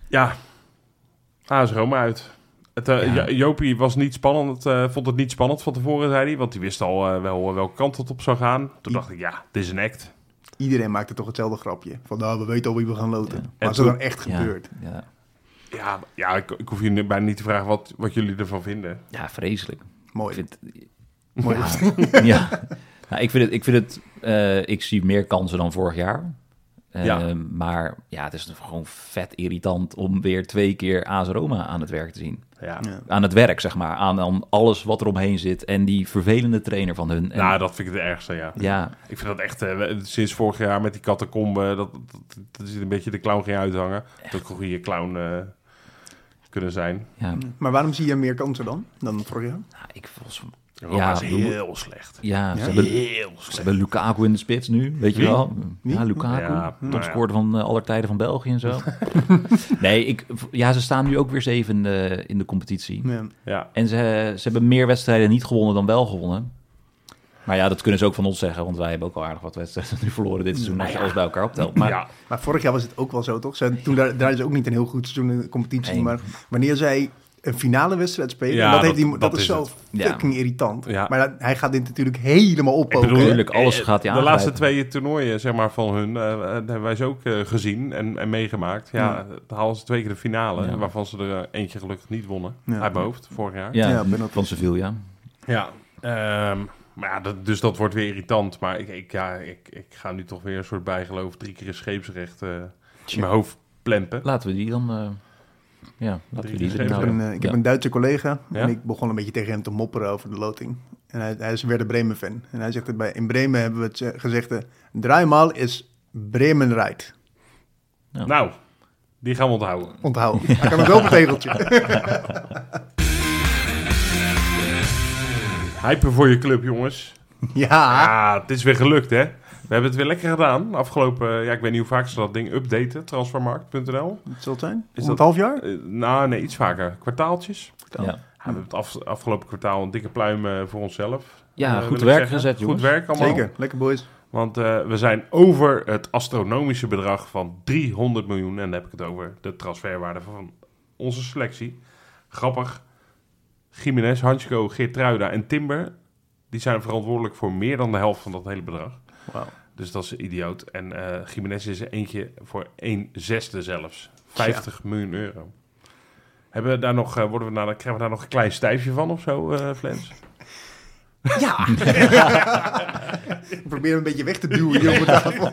Ja, AS Roma uit. Het, eh, Ja. Jo- Jopie was niet spannend, eh, vond het niet spannend van tevoren, zei hij. Want die wist al eh, wel eh, welke kant het op zou gaan. Toen dacht ik, ja, dit is een act. Iedereen maakte toch hetzelfde grapje. Van nou, we weten al wie we gaan loten. Maar En als het toen- dan echt Ja. gebeurt. Ja. Ja, ja ik, ik hoef je nu bijna niet te vragen wat, wat jullie ervan vinden. ja, vreselijk. Ik Mooi. vind, mooi. [LAUGHS] ja. Nou, ik vind het, ik, vind het eh, ik zie meer kansen dan vorig jaar. Eh, Ja. Maar ja, het is gewoon vet irritant om weer twee keer AS Roma aan het werk te zien. Ja. Ja. Aan het werk, zeg maar. Aan, aan alles wat er omheen zit. En die vervelende trainer van hun. En, Nou, dat vind ik het ergste, ja. ja, Ik vind dat echt, eh, we- sinds vorig jaar met die catacombe, dat, dat, dat is een beetje de clown ging uithangen. Dat kon hier clown eh, kunnen zijn. ja. [LAUGHS] Maar waarom zie je meer kansen dan? Dan vorig jaar? Nou, ik volgens Roma Ja, is we moeten- heel slecht. Ja, ze, Ja? hebben, Heel ze slecht. hebben Lukaku in de spits nu, weet je Wie? wel. Ja, Ja, Lukaku, nou ja. topscorer van eh, aller tijden van België en [LAUGHS] zo. nee, ik, ja, ze staan nu ook weer zeven in de, in de competitie. Ja. Ja. En ze, ze hebben meer wedstrijden niet gewonnen dan wel gewonnen. Maar ja, dat kunnen ze ook van ons zeggen, want wij hebben ook al aardig wat wedstrijden nu verloren dit seizoen, als je alles bij elkaar optelt. Maar Nou ja. Maar vorig jaar was het ook wel zo, toch? Ze, toen daar, daar is ook niet een heel goed seizoen in de competitie. Nee. Maar wanneer zij een finale wedstrijd spelen, Ja, en dat, dat- heeft die, dat, dat is, is zo het. Ja. fucking irritant. Ja. Maar dat- hij gaat dit natuurlijk helemaal oppoken. bedoel, hè? natuurlijk, alles Eh, gaat hij De aangrijpen. laatste twee toernooien zeg maar, van hun eh, eh, hebben wij ze ook eh, gezien en, en meegemaakt. Ja, dan halen ze twee keer de finale, Ja. waarvan ze er eh, eentje gelukkig niet wonnen. Ja. Uit mijn hoofd, vorig jaar. Ja, Ja, penalty. van Sevilla. Ja, ehm, maar ja, dat, dus dat wordt weer irritant. Maar ik, ik, ja, ik, ik ga nu toch weer een soort bijgeloof drie keer een scheepsrecht eh, in mijn hoofd plempen. Laten we die dan... eh, ja, laten we die gegeven. erin Ik Ik, heb een, houden. eh, ik Ja. heb een Duitse collega Oh, Ja? en ik begon een beetje tegen hem te mopperen over de loting. En hij, hij is weer de Bremen-fan. En hij zegt, dat bij, in Bremen hebben we het eh, gezegde, draaimaal is Bremenrijd. Nou, die gaan we onthouden. Onthouden. Hij kan het wel op het [LAUGHS] tegeltje. Hypen voor je club, jongens. Ja. Ah, het is weer gelukt, hè? We hebben het weer lekker gedaan. Afgelopen, eh, ja, ik weet niet hoe vaak ze dat ding updaten, transfermarkt.nl. Het zal het zijn. Om Is het dat- half jaar? Eh, nou, nee, iets vaker. Kwartaaltjes. oh. Ja. Ja, we hebben het af- afgelopen kwartaal een dikke pluim eh, voor onszelf. Ja, eh, goed wil ik werk zeggen. gezet, jongens. Goed werk allemaal. Zeker. Lekker boys. Want eh, we zijn over het astronomische bedrag van 300 miljoen. En dan heb ik het over de transferwaarde van onze selectie. Grappig. Jiménez, Hansko, Geertruida en Timber... die zijn verantwoordelijk voor meer dan de helft van dat hele bedrag. Wauw. Dus dat is idioot. En eh Jiménez is er eentje voor 1 zesde zelfs. 50 miljoen euro. Hebben we daar nog, eh, worden we daar, krijgen we daar nog een klein stijfje van of zo, eh Flens? Ja. Ik probeer hem een beetje weg te duwen hier op de tafel.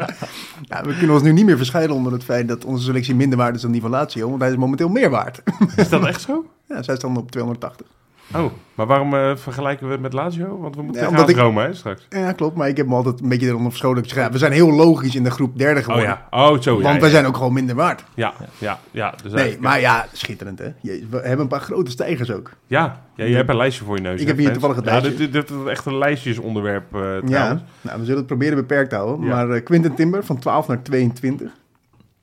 [LAUGHS] ja, we kunnen ons nu niet meer verscheiden onder het feit dat onze selectie minder waard is dan die van Lazio, want hij is momenteel meer waard. [LAUGHS] Is dat echt zo? ja, zij staan op 280. Oh, maar waarom eh, vergelijken we het met Lazio? Want we moeten Ja, tegen omdat ik- Rome hè, straks. Ja, klopt, maar ik heb me altijd een beetje eronder verscholen. Ik zeg, ja, we zijn heel logisch in de groep derde Oh geworden. ja, oh zo. Want ja, wij ja. zijn ook gewoon minder waard. Ja, ja, ja. Dus Nee, eigenlijk- maar ja, schitterend hè. Jezus, we hebben een paar grote stijgers ook. Ja, ja, je hebt een lijstje voor je neus. hè, Ik heb hier Frans? toevallig het Ja, lijstje. dit, dit, dit is echt een lijstjesonderwerp eh trouwens. Ja, nou, we zullen het proberen beperkt te houden. Ja. Maar eh, Quinten Timber van 12 naar 22,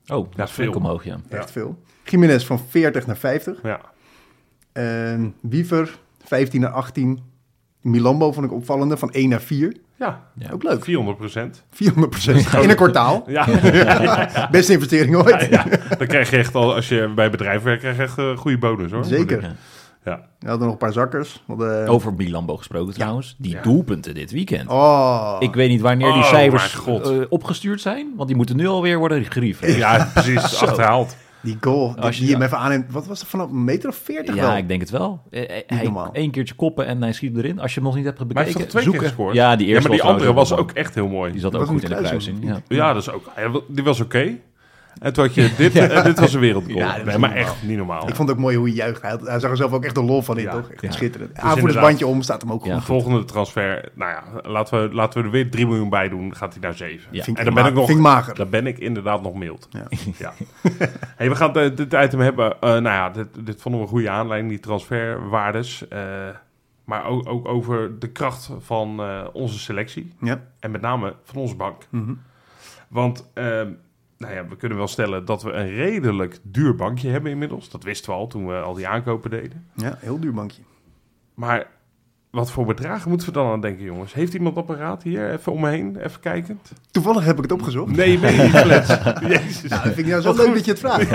Oh, dat is veel. veel omhoog, ja. echt Ja. veel. Jiménez van 40 naar 50. Ja. Ehm Wiever, 15 naar 18. Milambo vond ik opvallende, van 1 naar 4. Ja, Ja. Ook leuk. 400 procent. 400 In een kwartaal. Ja, [LAUGHS] Beste investering ooit. dan krijg je echt al, als je bij bedrijf werkt, krijg je echt eh, goede bonus hoor. Zeker. Ja. Oh. Ja. We hadden nog een paar zakkers. eh, We hadden- Over Milambo gesproken trouwens. Die Ja. doelpunten dit weekend. Oh. Ik weet niet wanneer die Oh, cijfers mijn god. eh, opgestuurd zijn, want die moeten nu alweer worden gerieven. Ja, [LAUGHS] precies, achterhaald. Die goal, Als die, je- die hem even aanneemt. Wat was dat, vanaf een meter of 40 wel? Ja, ik denk het wel. Eh, eh, Hij normaal. één keertje koppen en hij schiet erin. Als je hem nog niet hebt Maar hij heeft bekeken, toch zoek twee keer er- gescoord? Ja, die Ja, eerste maar die was andere trouwens was wel ook echt heel mooi. Die zat Dat ook was goed in een de kruising. kruising. Ja. Ja, dat is ook. hij wa- Die was oké. En toen had je dit, [LAUGHS] en dit was een wereldgoal. Ja, dat is nee, maar niet normaal. echt niet normaal. Ik vond het ook mooi hoe hij juicht. Hij, had- hij zag er zelf ook echt de lol van in, Ja. toch? Echt Ja. schitterend. Dus inderdaad. Aanvoerdersbandje om, staat hem ook Ja. goed. Volgende transfer, nou ja, laten we, laten we er weer 3 miljoen bij doen. Gaat hij naar 7. Ja. Vind ik En dan ben ma- ik nog, vind ik mager. dan ben ik inderdaad nog mild. Ja. [LAUGHS] Ja. hey, we gaan eh, dit item hebben. eh, nou ja, dit, dit vonden we een goede aanleiding, die transferwaardes. eh, maar ook, ook over de kracht van eh, onze selectie. Ja. En met name van onze bank. Mhm. Want ehm, nou ja, we kunnen wel stellen dat we een redelijk duur bankje hebben inmiddels. Dat wisten we al toen we al die aankopen deden. ja, heel duur bankje. Maar wat voor bedragen moeten we dan aan denken, jongens? Heeft iemand apparaat hier? Even om me heen, even kijkend. Toevallig heb ik het opgezocht. Nee, ben je niet [LAUGHS] flits. Jezus. Nou, dat vind ik nou zo Wat leuk goed. dat je het vraagt.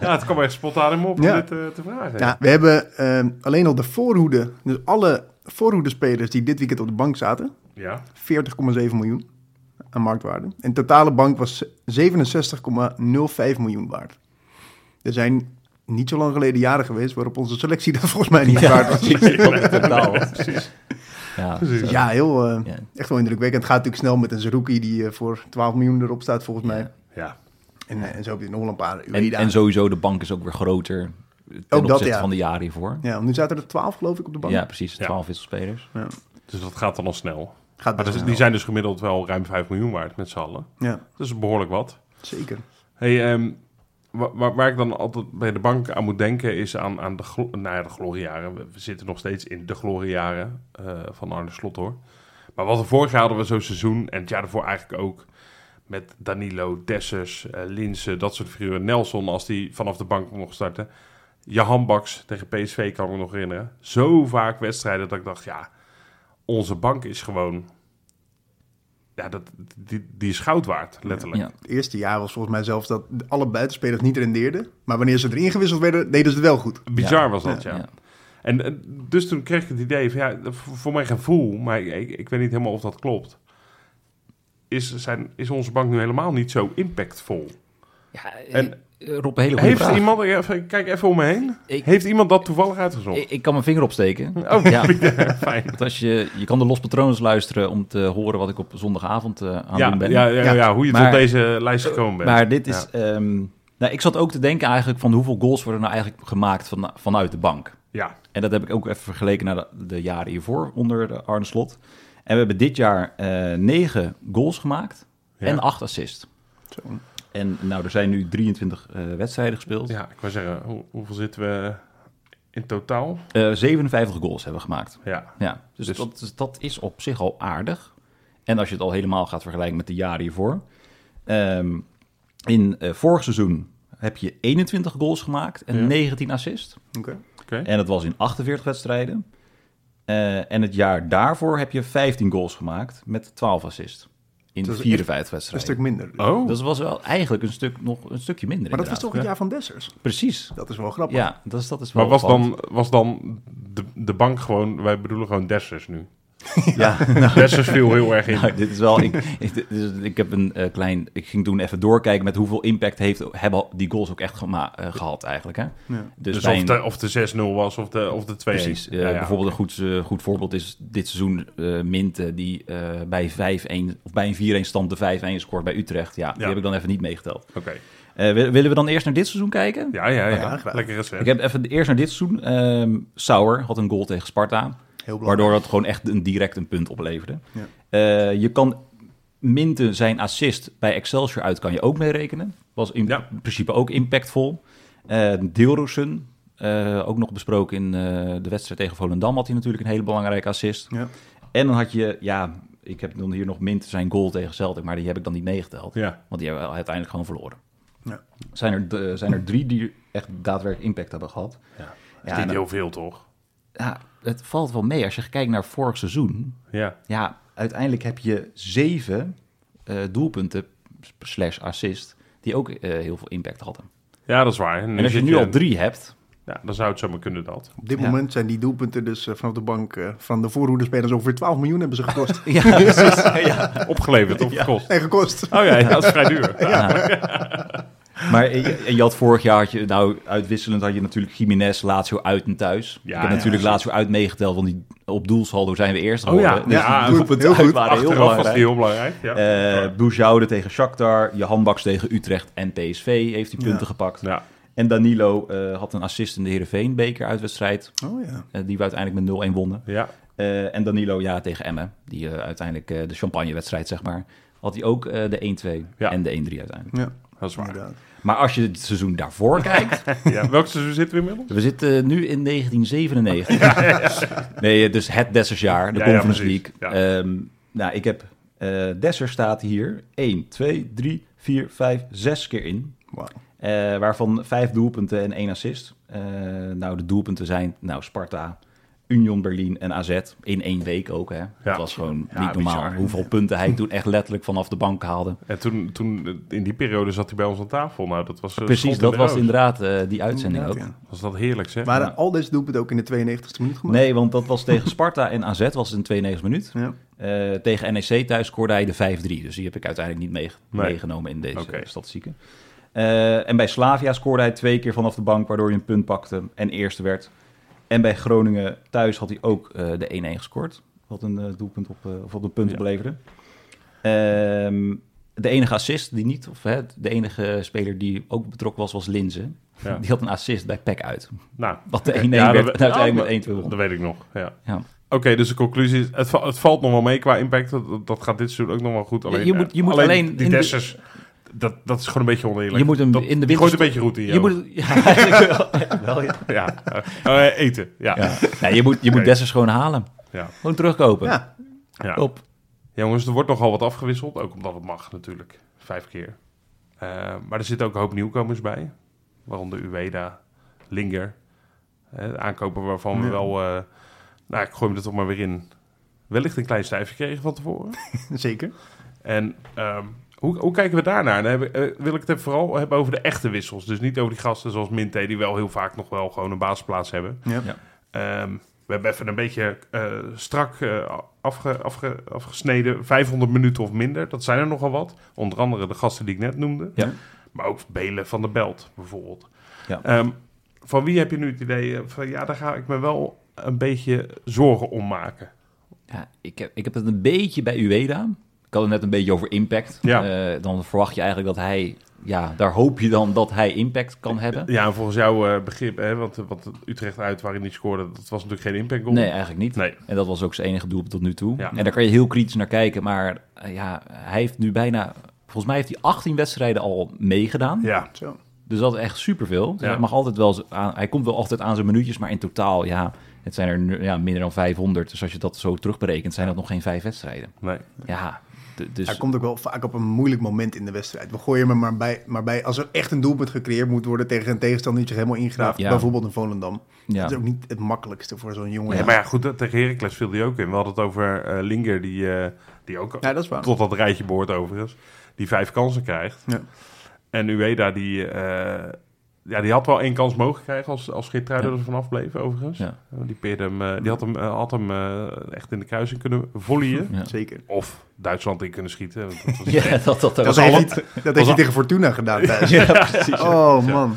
Ja, het kwam echt spontaan in me op Ja. om dit eh, te vragen. Ja, we hebben ehm, alleen al de voorhoede, dus alle voorhoedespelers die dit weekend op de bank zaten, Ja. 40,7 miljoen aan marktwaarde. En totale bank was 67,05 miljoen waard. Er zijn niet zo lang geleden jaren geweest waarop onze selectie [LAUGHS] dat volgens mij [LAUGHS] niet waard [LAUGHS] was. Totaal. Ja. Dus ja, heel, eh, Ja. echt wel indrukwekkend. Het gaat natuurlijk snel met een Zerouki die eh, voor 12 miljoen erop staat volgens mij. Ja. En, eh, en zo heb je nog wel een paar En, Ueda. en sowieso, de bank is ook weer groter ten opzichte ja. van de jaren hiervoor. Ja, want nu zaten er 12 geloof ik op de Ja, bank. precies. Ja. 12 wisselspelers. Dus dat gaat dan al snel. Gaat Maar best dat is- wel die snel. zijn dus gemiddeld wel ruim 5 miljoen waard met z'n allen. Ja, Dat is behoorlijk wat. zeker. Hey, ehm, wa- wa- waar ik dan altijd bij de bank aan moet denken is aan, aan de, glo nou ja, de gloriejaren. We, we zitten nog steeds in de gloriejaren eh, van Arne Slot hoor. Maar wat we vorig jaar hadden we zo'n seizoen en het jaar daarvoor eigenlijk ook. Met Danilo, Dessers, eh, Linsen, dat soort figuren. Nelson als die vanaf de bank mocht starten. Jahan Baks tegen PSV kan ik me nog herinneren. Zo vaak wedstrijden dat ik dacht, ja, onze bank is gewoon... Ja, dat, die, die is goud waard, letterlijk. Ja. Het eerste jaar was volgens mij zelfs dat alle buitenspelers niet rendeerden. Maar wanneer ze erin gewisseld werden, deden ze het wel goed. Bizar Ja. was dat, ja. Ja. En, eh, dus toen kreeg ik het idee van, ja, voor voor mijn gevoel, maar ik, ik, ik weet niet helemaal of dat klopt, is, zijn, is onze bank nu helemaal niet zo impactvol. Ja, eh, En- eh, Rob, een hele goede Heeft vraag. iemand, even, kijk even om me heen, Ik- heeft iemand dat toevallig uitgezocht? Ik, ik kan mijn vinger opsteken. oh, Ja. [LAUGHS] fijn. Want Als je, je kan de Los Patroons luisteren om te horen wat ik op zondagavond eh, aan het Ja, doen ja, ben. ja, ja, ja, hoe je Maar- tot deze lijst gekomen bent. Maar dit is... ehm, nou, ik zat ook te denken eigenlijk van hoeveel goals worden nou eigenlijk gemaakt van, vanuit de bank. Ja, En dat heb ik ook even vergeleken naar de, de jaren hiervoor onder de Arne Slot. En we hebben dit jaar eh, negen goals gemaakt Ja. en acht assists. En nou, er zijn nu 23 eh, wedstrijden gespeeld. ja, ik wou zeggen, hoe- hoeveel zitten we In totaal? Eh, 57 goals hebben gemaakt. Ja. Ja, dus, Dat, dus dat is op zich al aardig. En als je het al helemaal gaat vergelijken met de jaren hiervoor. Ehm, in eh, vorig seizoen heb je 21 goals gemaakt en 19 assists. Oké. En dat was in 48 wedstrijden. Eh, en het jaar daarvoor heb je 15 goals gemaakt met 12 assists. In Dat is 54 Een wedstrijden. stuk minder. Oh, Dat was wel eigenlijk een stuk, nog een stukje minder. maar dat was toch het inderdaad. jaar van Dessers? Ja, Precies. Dat is wel grappig. Ja, dat is, dat is wel maar was opvallend. dan, was dan de, de bank gewoon... Wij bedoelen gewoon Dessers nu. [LAUGHS] Ja, Dessers viel heel erg in. Nou, dit is wel. Ik, ik, dit is- ik heb een eh, klein. Ik ging toen even doorkijken met hoeveel impact heeft, hebben die goals ook echt gema- eh, gehad eigenlijk. Hè? Dus, Dus bij of een- de, of de 6-0 was of de, of de 2-1. precies. eh, Ja, ja. Bijvoorbeeld een goed, eh, goed voorbeeld is dit seizoen eh Minte die eh, bij 5-1 of bij een 4-1 stand de 5-1 scoort bij Utrecht. Ja, die Ja. heb ik dan even niet meegeteld. Oké. Eh, wil- willen we dan eerst naar dit seizoen kijken? Ja, ja, ja. graag. Lekker recept. Ik heb even eerst naar dit seizoen. Ehm Sauer had een goal tegen Sparta. Heel belangrijk. Waardoor dat gewoon echt een, direct een punt opleverde. Ja. Eh, je kan Minten zijn assist bij Excelsior uit kan je ook mee rekenen. Was in Ja. principe ook impactvol. Eh Deelroesen, eh, ook nog besproken in eh, de wedstrijd tegen Volendam... had hij natuurlijk een hele belangrijke assist. Ja. En dan had je, ja, ik heb dan hier nog Minten zijn goal tegen Celtic... maar die heb ik dan niet meegeteld. Ja. Want die hebben we uiteindelijk gewoon verloren. Ja. Zijn er, eh, zijn er drie die echt daadwerkelijk impact hebben gehad. Ja, nou- Is en niet dan- heel veel, toch? ja, het valt wel mee als je kijkt naar vorig seizoen. Ja. Ja, uiteindelijk heb je zeven eh, doelpunten slash assist die ook eh, heel veel impact hadden. Ja, dat is waar. En als je zit nu al drie hebt, Ja, dan zou het zomaar kunnen [LAUGHS] dat. Op dit Ja. moment zijn die doelpunten dus eh, vanaf de bank eh, van de voorhoederspelers ongeveer 12 miljoen hebben ze gekost. [LAUGHS] [LAUGHS] ja, Opgeleverd of gekost. nee, gekost. Oh ja, ja, dat is vrij [LAUGHS] duur. Ja. maar eh, je, en je had vorig jaar, had je, nou uitwisselend had je natuurlijk Jiménez, Lazio uit en thuis. Ja, ik heb ja, natuurlijk ja. Lazio uit meegeteld, want die, op doelsaldo zijn we eerst Oh, geworden. ja. Dus [LAUGHS] Ja, die doelpunten heel goed. uit waren heel Achteraf was die belangrijk. heel belangrijk. Ja. Eh Boujoude tegen Shakhtar, Johan Baks tegen Utrecht en PSV heeft die punten gepakt. ja. En Danilo eh, had een assist in de Heerenveen-beker uitwedstrijd, Oh ja. eh, die we uiteindelijk met 0-1 wonnen. ja. Eh, en Danilo, ja, tegen Emmen, die eh, uiteindelijk eh, de champagnewedstrijd, zeg maar, had hij ook eh, de 1-2 Ja. en de 1-3 uiteindelijk. Ja, Dat is waar. inderdaad. Maar als je het seizoen [LAUGHS] daarvoor kijkt, Ja. Welk seizoen zitten we inmiddels? we zitten eh, nu in 1997. Nee, eh, dus het Dessersjaar, de Ja, ja, Conference precies. League. Ja. Ehm, nou, ik heb eh Dessers staat hier 1, 2, 3, 4, 5, 6 keer in. Wauw. Eh, waarvan vijf doelpunten en één assist. Eh, nou, de doelpunten zijn nou, Sparta, Union Berlin en AZ. In één week ook, hè. Het was gewoon Ja, niet normaal bizar. hoeveel punten hij toen echt letterlijk vanaf de bank haalde. En toen, toen, eh, in die periode zat hij bij ons aan tafel. Nou, dat was eh, schot Precies, in dat de was roos. inderdaad eh, die uitzending ook. Inderdaad, ja. Was dat heerlijk, zeg. Waren al deze doelpunten ook in de 92e minuut gemaakt? Nee, want dat was tegen Sparta en AZ was het in 92 minuut. Ja. Eh, tegen NEC thuis scoorde hij de 5-3. Dus die heb ik uiteindelijk niet mee- Nee. meegenomen in deze Oké. statistieken. Eh, en bij Slavia scoorde hij twee keer vanaf de bank, waardoor hij een punt pakte en eerste werd. En bij Groningen thuis had hij ook eh, de 1-1 gescoord. Wat een eh, doelpunt op, eh, of wat een punt Ja. opleverde. Ehm, de enige assist die niet, of hè, de enige speler die ook betrokken was, was Linzen. Ja. [LAUGHS] Die had een assist bij Peck uit. Nou, Wat de 1-1 ja, werd dat- en uiteindelijk ja, met 1-2 won. dat weet ik nog. Ja. Ja. Oké, dus de conclusie is: het, va- het valt nog wel mee qua impact. Dat, dat- dat gaat dit seizoen ook nog wel goed. Alleen, je moet- je moet eh, alleen die in de- Dessers, dat, dat is gewoon een beetje oneerlijk. Je moet hem dat, in de die gooit winter- een beetje roet in je. Je moet, [LAUGHS] ja, eigenlijk wel, wel, ja. [LAUGHS] ja. Eh, eh, eten. Ja. Ja. Nee, je moet, je moet Oké. Dessers gewoon halen. Ja. Gewoon terugkopen. Ja, Top. Jongens, er wordt nogal wat afgewisseld. Ook omdat het mag natuurlijk. Vijf keer. Eh, maar er zitten ook een hoop nieuwkomers bij. Waaronder Ueda, Linger. Eh, aankopen waarvan we wel... eh, nou, ik gooi hem er toch maar weer in. Wellicht een klein stijfje kregen van tevoren. zeker. En ehm, hoe, hoe kijken we daarnaar? Dan heb ik, eh, wil ik het even vooral hebben over de echte wissels. Dus niet over die gasten zoals Minte, die wel heel vaak nog wel gewoon een basisplaats hebben. Ja. Ja. Ehm, we hebben even een beetje eh, strak eh, afge, afge- afgesneden. 500 minuten of minder, dat zijn er nogal wat. Onder andere de gasten die ik net noemde. Ja. Maar ook Belen van de Belt bijvoorbeeld. Ja. Ehm, van wie heb je nu het idee eh, van ja, daar ga ik me wel een beetje zorgen om maken? Ja, ik, heb, ik heb het een beetje bij Ueda. Ik had het net een beetje over impact. Ja. Eh, dan verwacht je eigenlijk dat hij... Ja, daar hoop je dan dat hij impact kan hebben. Ja, en volgens jouw eh, begrip, hè, want, eh, want Utrecht uit waarin hij scoorde, dat was natuurlijk geen impact goal. Nee, eigenlijk niet. Nee. En dat was ook zijn enige doel tot nu toe. Ja. En daar kan je heel kritisch naar kijken. Maar eh, ja, hij heeft nu bijna... Volgens mij heeft hij 18 wedstrijden al meegedaan. Ja, Zo. Dus dat is echt superveel. Dus Ja. hij, mag altijd wel z- aan, hij komt wel altijd aan zijn minuutjes, maar in totaal, ja, het zijn er nu- ja, minder dan 500. Dus als je dat zo terugberekent, zijn dat nog geen vijf wedstrijden. Nee. Ja, d- dus... Hij komt ook wel vaak op een moeilijk moment in de wedstrijd. We gooien hem er maar bij, maar bij als er echt een doelpunt gecreëerd moet worden tegen een tegenstander die zich helemaal ingraaft. Ja. Bijvoorbeeld een Volendam. Ja. Dat is ook niet het makkelijkste voor zo'n jongen. Ja, maar ja, goed, dat- tegen Heracles viel die ook in. We hadden het over eh, Linger, die, eh, die ook Ja, dat is waar. tot dat rijtje behoort overigens. Die vijf kansen krijgt. Ja. En Ueda, die, eh, ja, die had wel één kans mogen krijgen als, als Geertruiden er vanaf bleef overigens. Ja. Die, peerde hem, eh, die had hem, eh, had hem eh, echt in de kruising kunnen volleyen. Ja. [LAUGHS] Zeker. Of Duitsland in kunnen schieten. want dat was- Ja, dat, dat, Dat, ook. heeft, al- hij, dat heeft hij al- tegen Fortuna [LAUGHS] gedaan thuis. Ja, precies. Oh man.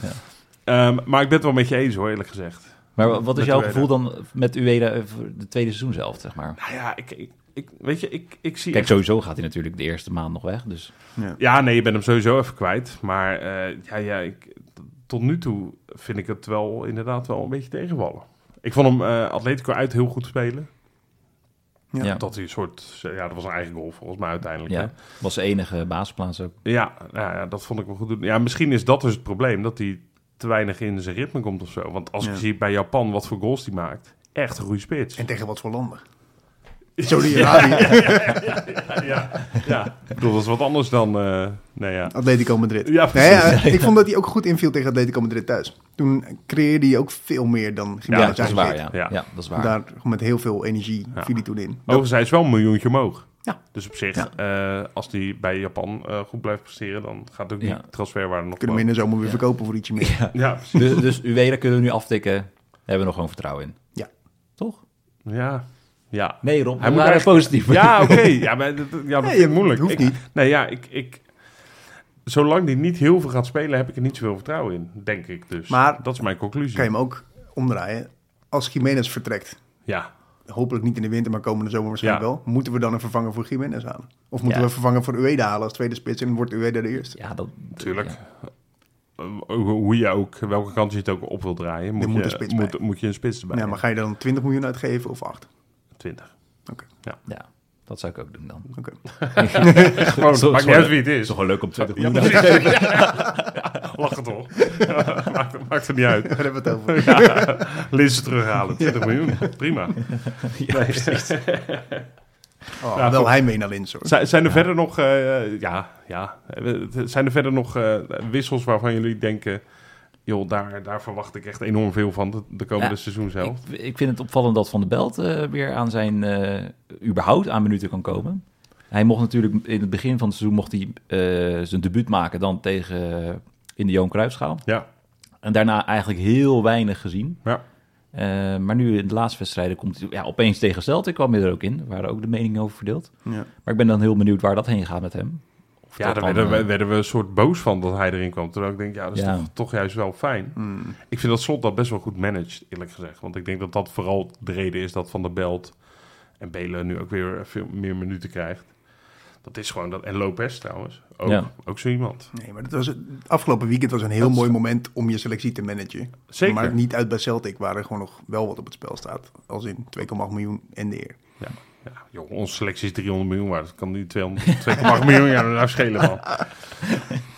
Ehm, maar ik ben het wel met je eens hoor, eerlijk gezegd. Maar wa- wat is Met jouw Ueda. gevoel dan met Ueda eh, voor de tweede seizoen zelf, zeg maar? Nou ja, ik, ik, ik, weet je, ik, ik zie... Kijk, echt- sowieso gaat hij natuurlijk de eerste maand nog weg, dus... Ja, nee, je bent hem sowieso even kwijt. Maar eh, ja, ja, ik, t- tot nu toe vind ik het wel inderdaad wel een beetje tegenvallen. Ik vond hem eh, Atletico uit heel goed spelen. Ja. Ja. Dat hij een soort... eh, Ja, dat was een eigen goal volgens mij uiteindelijk. hè? Ja, was de enige basisplaats ook. Ja, nou ja, dat vond ik wel goed doen. Ja, misschien is dat dus het probleem, dat hij te weinig in zijn ritme komt of zo. Want als Ja. ik zie bij Japan wat voor goals die maakt, echt een goede spits. En tegen wat voor landen? Saudi-Arabië, ja, [LAUGHS] ja. Ik bedoel, dat is wat anders dan... eh nou ja. Atletico Madrid. Ja, Nee, precies. ja, ik vond dat hij ook goed inviel tegen Atletico Madrid thuis. Toen creëerde hij ook veel meer dan Ja, Gimenez dat is eigenlijk waar, ja. Ja. ja. dat is waar. Daar met heel veel energie Ja. viel hij toen in. Overigens, hij is wel een miljoentje omhoog. Ja. Dus op zich, Ja. eh, als die bij Japan eh, goed blijft presteren, dan gaat ook die Ja. transferwaarde nog Kunnen we in de zomer weer verkopen voor ietsje meer. omhoog. Ja, precies. [LAUGHS] Dus, dus Ueda kunnen we nu aftikken. Daar hebben we nog gewoon vertrouwen in. Ja. Toch? ja. ja. Nee, Rob. Hij we moet waren eigenlijk- positief. [LAUGHS] Ja, oké. Ja, maar dat, dat- ja, dat Nee, vind ik je- moeilijk. hoeft ik, niet. Nee, ja, ik, ik... Zolang die niet heel veel gaat spelen, heb ik er niet zoveel vertrouwen in, denk ik dus. Maar- dat is mijn conclusie. Kan je hem ook omdraaien. Als Jiménez vertrekt, Ja. hopelijk niet in de winter, maar komende zomer waarschijnlijk Ja. wel. Moeten we dan een vervanger voor Jiménez halen? Of moeten Ja. we een vervanger voor Ueda halen als tweede spits en wordt Ueda de eerste? Ja, dat... Tuurlijk. ja. Eh, Hoe hoe je ook, welke kant je het ook op wil draaien, moet, Er moet een je, spits moet, bij. moet je een spits erbij. Ja, maar ga je dan 20 miljoen uitgeven of 8? [LAUGHS] 20. Ja, dat zou ik ook doen dan. Oké. [LAUGHS] Gewoon, Zo- Oh, maakt zo- niet uit wie het is. Is toch wel leuk om 20 Ja, miljoen precies. uit te geven? [LAUGHS] Lachen toch? maakt, maakt er niet uit. Daar hebben we het over. Linzen terughalen, 20 miljoen. Prima. Ja, precies. Oh, Ja, wel goed. hij mee naar Linz hoor. [LAUGHS] Zijn, zijn er verder nog, eh, ja, ja. Zijn er verder nog eh, wissels waarvan jullie denken... joh, daar, daar verwacht ik echt enorm veel van de, de komende Ja, seizoen zelf. ik, ik vind het opvallend dat Van der Belt eh, weer aan zijn... eh, überhaupt aan minuten kan komen. Hij mocht natuurlijk in het begin van het seizoen... mocht hij eh, zijn debuut maken dan tegen... eh, in de Johan Cruijffschaal. Ja, En daarna eigenlijk heel weinig gezien. Ja. Eh, maar nu in de laatste wedstrijden komt hij ja, opeens tegen Celtic kwam hij er ook in. Daar waren ook de meningen over verdeeld. Ja. Maar ik ben dan heel benieuwd waar dat heen gaat met hem. Of ja dat daar dan, werden, we- eh, werden we een soort boos van dat hij erin kwam. Terwijl ik denk, ja, dat is Ja. Toch, toch juist wel fijn. Hmm. Ik vind dat Slot dat best wel goed managed, eerlijk gezegd. Want ik denk dat dat vooral de reden is dat Van der Belt en Belen nu ook weer veel meer minuten krijgt. Dat is gewoon dat. En Lopez trouwens. Ook, Ja. ook zo iemand. Nee, maar dat was, het afgelopen weekend was een heel mooi moment om je selectie te managen. Zeker. Maar niet uit bij Celtic, waar er gewoon nog wel wat op het spel staat. Als in 2,8 miljoen en de eer. Ja, joh, onze selectie is 300 miljoen waard. Dat kan die 200 [LAUGHS] 2,8 miljoen jaar nou schelen [LAUGHS] van.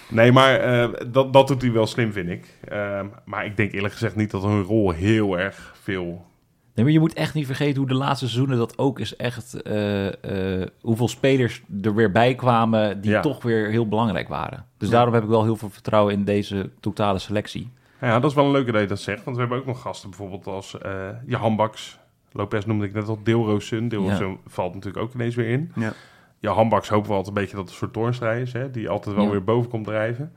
Nee, maar eh, dat, dat doet hij wel slim, vind ik. Ehm, maar ik denk eerlijk gezegd niet dat hun rol heel erg veel... nee, maar je moet echt niet vergeten hoe de laatste seizoenen dat ook is echt... eh, eh, hoeveel spelers er weer bij kwamen die Ja. toch weer heel belangrijk waren. Dus daarom heb ik wel heel veel vertrouwen in deze totale selectie. Ja, dat is wel een leuke dat je dat zegt. Want we hebben ook nog gasten bijvoorbeeld als eh je handbaks. Lopez noemde ik net al Deelroosun. Deelroosun valt natuurlijk ook ineens weer in. Ja. Je handbaks hopen we altijd een beetje dat het een soort toornstrijd is. Hè, die altijd wel Ja. weer boven komt drijven.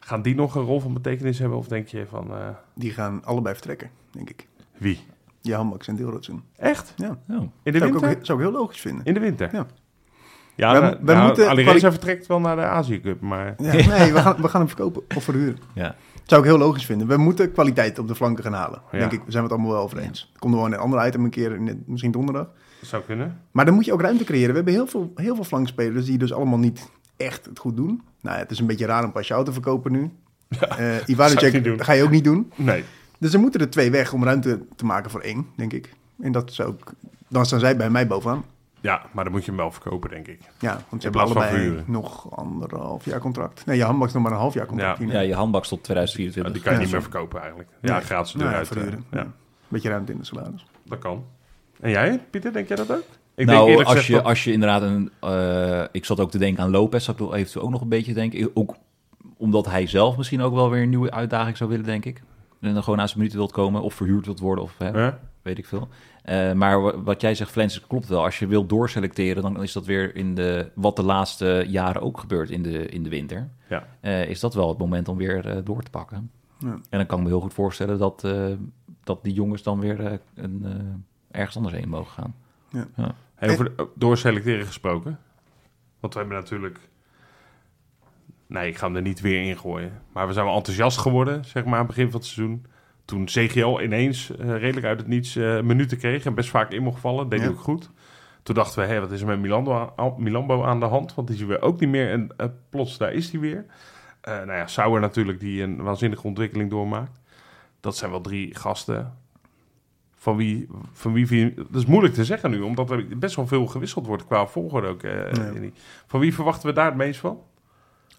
Gaan die nog een rol van betekenis hebben? Of denk je van eh, Die gaan allebei vertrekken, denk ik. wie? Ja, Max en Deelrotsen. Echt? Ja, Oh. In de zou ik, winter? ook, zou ik heel logisch vinden. In de winter? Ja. Ja, Wij- nou, wij nou, moeten- Alireza kwali- vertrekt wel naar de Azië Cup, maar... Ja, nee, we gaan, we gaan hem verkopen of verhuren. Ja. Zou ik heel logisch vinden. We moeten kwaliteit op de flanken gaan halen. Ja. Denk ik, we zijn het allemaal wel over eens. Er Komt er gewoon een ander item een keer, in het- misschien donderdag. Zou kunnen. Maar dan moet je ook ruimte creëren. We hebben heel veel, heel veel flankspelers die dus allemaal niet echt het goed doen. Nou, ja, het is een beetje raar om Pashao te verkopen nu. [LAUGHS] Ja, zou ik niet doen. dat ga je ook niet doen. Nee. Dus er moeten er twee weg om ruimte te maken voor één, denk ik. En dat zou ook... Dan staan zij bij mij bovenaan. Ja, maar dan moet je hem wel verkopen, denk ik. Ja, want je In hebt plaats van allebei verhuren. nog anderhalf jaar contract. Nee, je handbak is nog maar een half jaar contract. Ja. hier. Ja, je handbak tot Ja, die 2024. kan je Ja, niet zo. meer verkopen eigenlijk. Ja, Nee. gaat ze Nou ja, eruit. eh, verhuren. ja, Ja. Beetje ruimte in de salaris. dat kan. En jij, Pieter, denk jij dat ook? Ik nou, als je, dat- als je inderdaad een... eh, ik zat ook te denken aan Lopez, zou ik wel eventueel ook nog een beetje denken. Ik- Ook omdat hij zelf misschien ook wel weer een nieuwe uitdaging zou willen, denk ik. En dan gewoon aan zijn minuten wilt komen of verhuurd wilt worden of hè, Hè? weet ik veel. Eh, maar wa- wat jij zegt, Flens, klopt wel. Als je wilt doorselecteren, dan is dat weer in de, wat de laatste jaren ook gebeurt in de, in de winter. Ja. Eh, is dat wel het moment om weer eh, door te pakken. Ja. En dan kan ik me heel goed voorstellen dat, eh, dat die jongens dan weer eh, een, eh, ergens anders heen mogen gaan. Hey, over de- eh, door selecteren gesproken. Want we hebben natuurlijk... Nee, ik ga hem er niet weer in gooien. Maar we zijn wel enthousiast geworden, zeg maar, aan het begin van het seizoen. Toen CGL ineens eh, redelijk uit het niets eh, minuten kreeg en best vaak in mocht vallen. Deed hij Ja. ook goed. Toen dachten we, hé, wat is er met Milando aan- aan, Milambo aan de hand? Want die zien we ook niet meer. En eh, plots, daar is hij weer. Eh nou ja, Sauer natuurlijk, die een waanzinnige ontwikkeling doormaakt. Dat zijn wel drie gasten van wie, van wie, vi- dat is moeilijk te zeggen nu, omdat er best wel veel gewisseld wordt qua volgorde ook. eh, Ja. in die- Van wie verwachten we daar het meest van?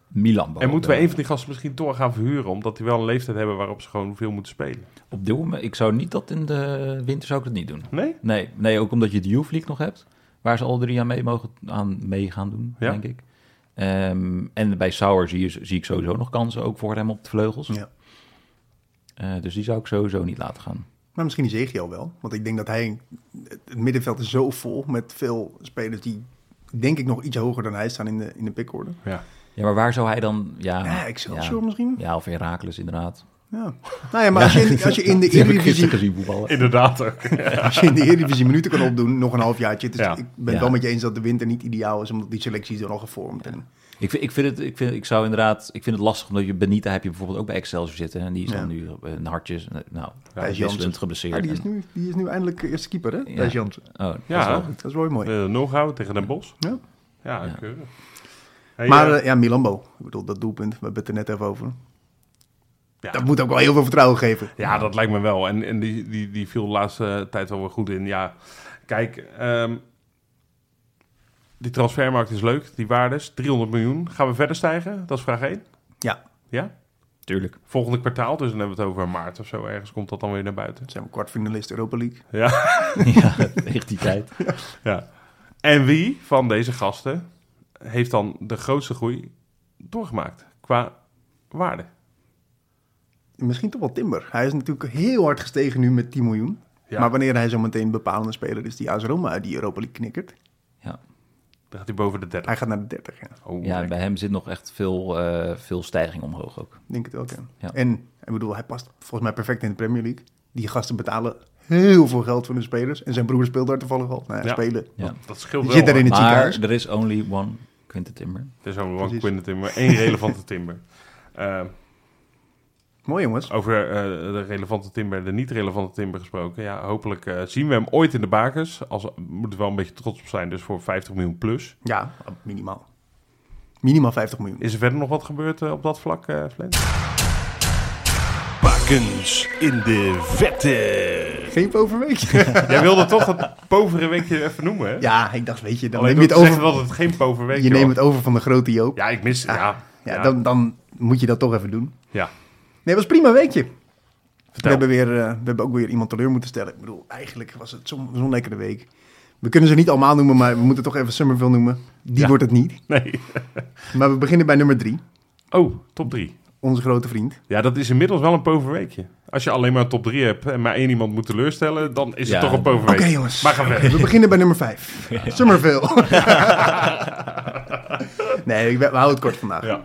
Milan. en moeten we een van die gasten misschien door gaan verhuren, omdat die wel een leeftijd hebben waarop ze gewoon veel moeten spelen? Op dit moment, ik zou niet dat in de winter zou ik dat niet doen. Nee? Nee, nee ook omdat je de Youth League nog hebt. Waar ze al drie jaar mee mogen aan mee gaan doen, Ja. denk ik. Ehm, en bij Sauer zie, je, zie ik sowieso nog kansen ook voor hem op de vleugels. Ja. Eh, dus die zou ik sowieso niet laten gaan. Maar misschien is Egio wel. Want ik denk dat hij... Het middenveld is zo vol met veel spelers die... denk ik nog iets hoger dan hij staan in de, in de pickorde. Ja. Ja, maar waar zou hij dan... Ja, Ja, Excelsior ja. misschien? Ja, of Herakles inderdaad. Ja. Nou ja, maar als je in, als je in de [LAUGHS] Die heb ik Eredivisie... gisteren gezien voetballen. Inderdaad [LAUGHS] ook. als je in de Eredivisie minuten kan opdoen, nog een half jaartje. Dus Ja. ik ben het Ja. wel met je eens dat de winter niet ideaal is, omdat die selectie is dan al gevormd. En, Ik vind, ik vind het, ik vind, ik zou inderdaad, ik vind het lastig omdat je Benita heb je bijvoorbeeld ook bij Excelsior zitten en die is dan Ja. nu eh, een hartjes, eh, nou, Thijs ja, Jansen. wisselend geblesseerd. Ah, die, is en- nu, die is nu eindelijk eerste keeper, hè? Ja. Thijs Jansen. oh, dat is wel Ja, goed. Dat is wel weer mooi. eh, Noghout tegen Den Bosch. Ja. Ja, Ja. keurig. Hey, maar eh, eh, ja, Milambo. Ik bedoel, dat doelpunt, we hebben het er net even over. Ja. Dat moet ook wel heel veel vertrouwen geven. Ja, dat lijkt me wel. En, en die, die, die viel de laatste tijd wel weer goed in. Ja, kijk, ehm, die transfermarkt is leuk. Die waardes, 300 miljoen. Gaan we verder stijgen? Dat is vraag 1. Ja. Ja? Tuurlijk. Volgende kwartaal, dus dan hebben we het over maart of zo. Ergens komt dat dan weer naar buiten. Zijn we kwartfinalist Europa League? Ja. [LAUGHS] ja, echt die tijd. ja. En wie van deze gasten heeft dan de grootste groei doorgemaakt qua waarde? Misschien toch wel Timber. Hij is natuurlijk heel hard gestegen nu met 10 miljoen. Ja. Maar wanneer hij zo meteen bepalende speler is die AS Roma uit die Europa League knikkert, Ja. Dan gaat hij boven de 30. hij gaat naar de 30. Ja. Oh, ja, lekker. bij hem zit nog echt veel, eh, veel stijging omhoog ook. Ik Denk het ook, ja. Ja. En, ik bedoel, hij past volgens mij perfect in de Premier League. Die gasten betalen heel veel geld voor hun spelers. En zijn broer speelt daar toevallig al. Nou ja, Ja. spelen. Ja. dat scheelt Je wel. zit daar hè? in het Maar ziekenhuis. er is only one Quinten Timber. Er is zo'n one Precies. quinte timber, één relevante timber. [LAUGHS] Eh, Mooi jongens. over eh, de relevante timber en de niet-relevante timber gesproken. Ja, hopelijk eh, zien we hem ooit in de bakers. Als, moet er wel een beetje trots op zijn, dus voor 50 miljoen plus. Ja, minimaal. Minimaal 50 miljoen. Is er verder nog wat gebeurd eh, op dat vlak, eh [LAUGHS] Flint? Bakens in de vette. Geen [LAUGHS] overweek. Jij wilde toch het povere weekje even noemen, hè? ja, ik dacht, weet je, dan Alleen neem je het over. dat het geen povere weekje Je neemt was. het over van de grote Joop. Ja, Ja, ik mis... Ja, ja, Ah, Dan, dan moet je dat toch even doen. ja. Nee, was prima weekje. We Vertel. hebben, weer, eh, we hebben ook weer iemand teleur moeten stellen. Ik bedoel, eigenlijk was het zo'n zo'n lekkere week. We kunnen ze niet allemaal noemen, maar we moeten toch even Summerville noemen. Die Ja. wordt het niet. Nee. Maar we beginnen bij nummer drie. Oh, top 3. Onze grote vriend. Ja, dat is inmiddels wel een povere weekje. Als je alleen maar een top 3 hebt en maar één iemand moet teleurstellen, dan is Ja. het toch een povere Oké week. jongens, Maar ga verder. we beginnen bij nummer [LAUGHS] vijf. Summerville. nee, ik- we, we houden het kort vandaag. Ja.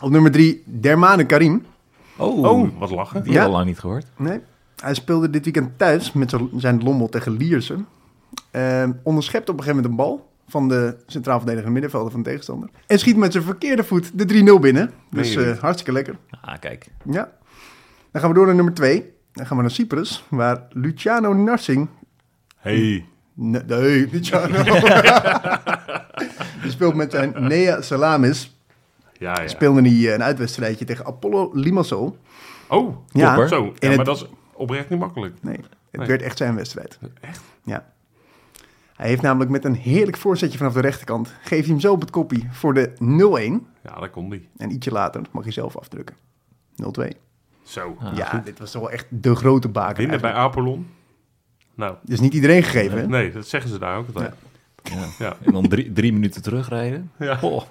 Op nummer drie, Dermane Karim. Oh, Oh, wat lachen. die ja. al lang niet gehoord. Nee, hij speelde dit weekend thuis met z'n- zijn lommel tegen Liersen. Ehm, onderschept op een gegeven moment een bal van de centraal verdedigende middenvelder van de tegenstander. En schiet met zijn verkeerde voet de 3-0 binnen. Dus Meen je eh, niet? hartstikke lekker. Ah, kijk. Ja. Dan gaan we door naar nummer 2. Dan gaan we naar Cyprus, waar Luciano Narsing... Hey. Nee, nee, [LAUGHS] Luciano. [LAUGHS] Die speelt met zijn Nea Salamis. Ja, ja. Speelde hij eh, een uitwedstrijdje tegen Apollo Limassol. Oh, Ja. ja. zo. Ja, En maar het- dat is oprecht niet makkelijk. Nee, het Nee. werd echt zijn wedstrijd. Echt? Ja. Hij heeft namelijk met een heerlijk voorzetje vanaf de rechterkant. Geeft hij hem zo op het koppie voor de 0-1. Ja, daar kon die. En ietsje later, dat mag je zelf afdrukken. 0-2. Zo. Ah, Ah, ja, dit was toch wel echt de grote baker. Winnen bij eigenlijk. Apelon. Nou, Dat is niet iedereen gegeven, hè? nee, dat zeggen ze daar ook altijd. En dan drie, drie minuten terugrijden. Ja. Oh, [LAUGHS]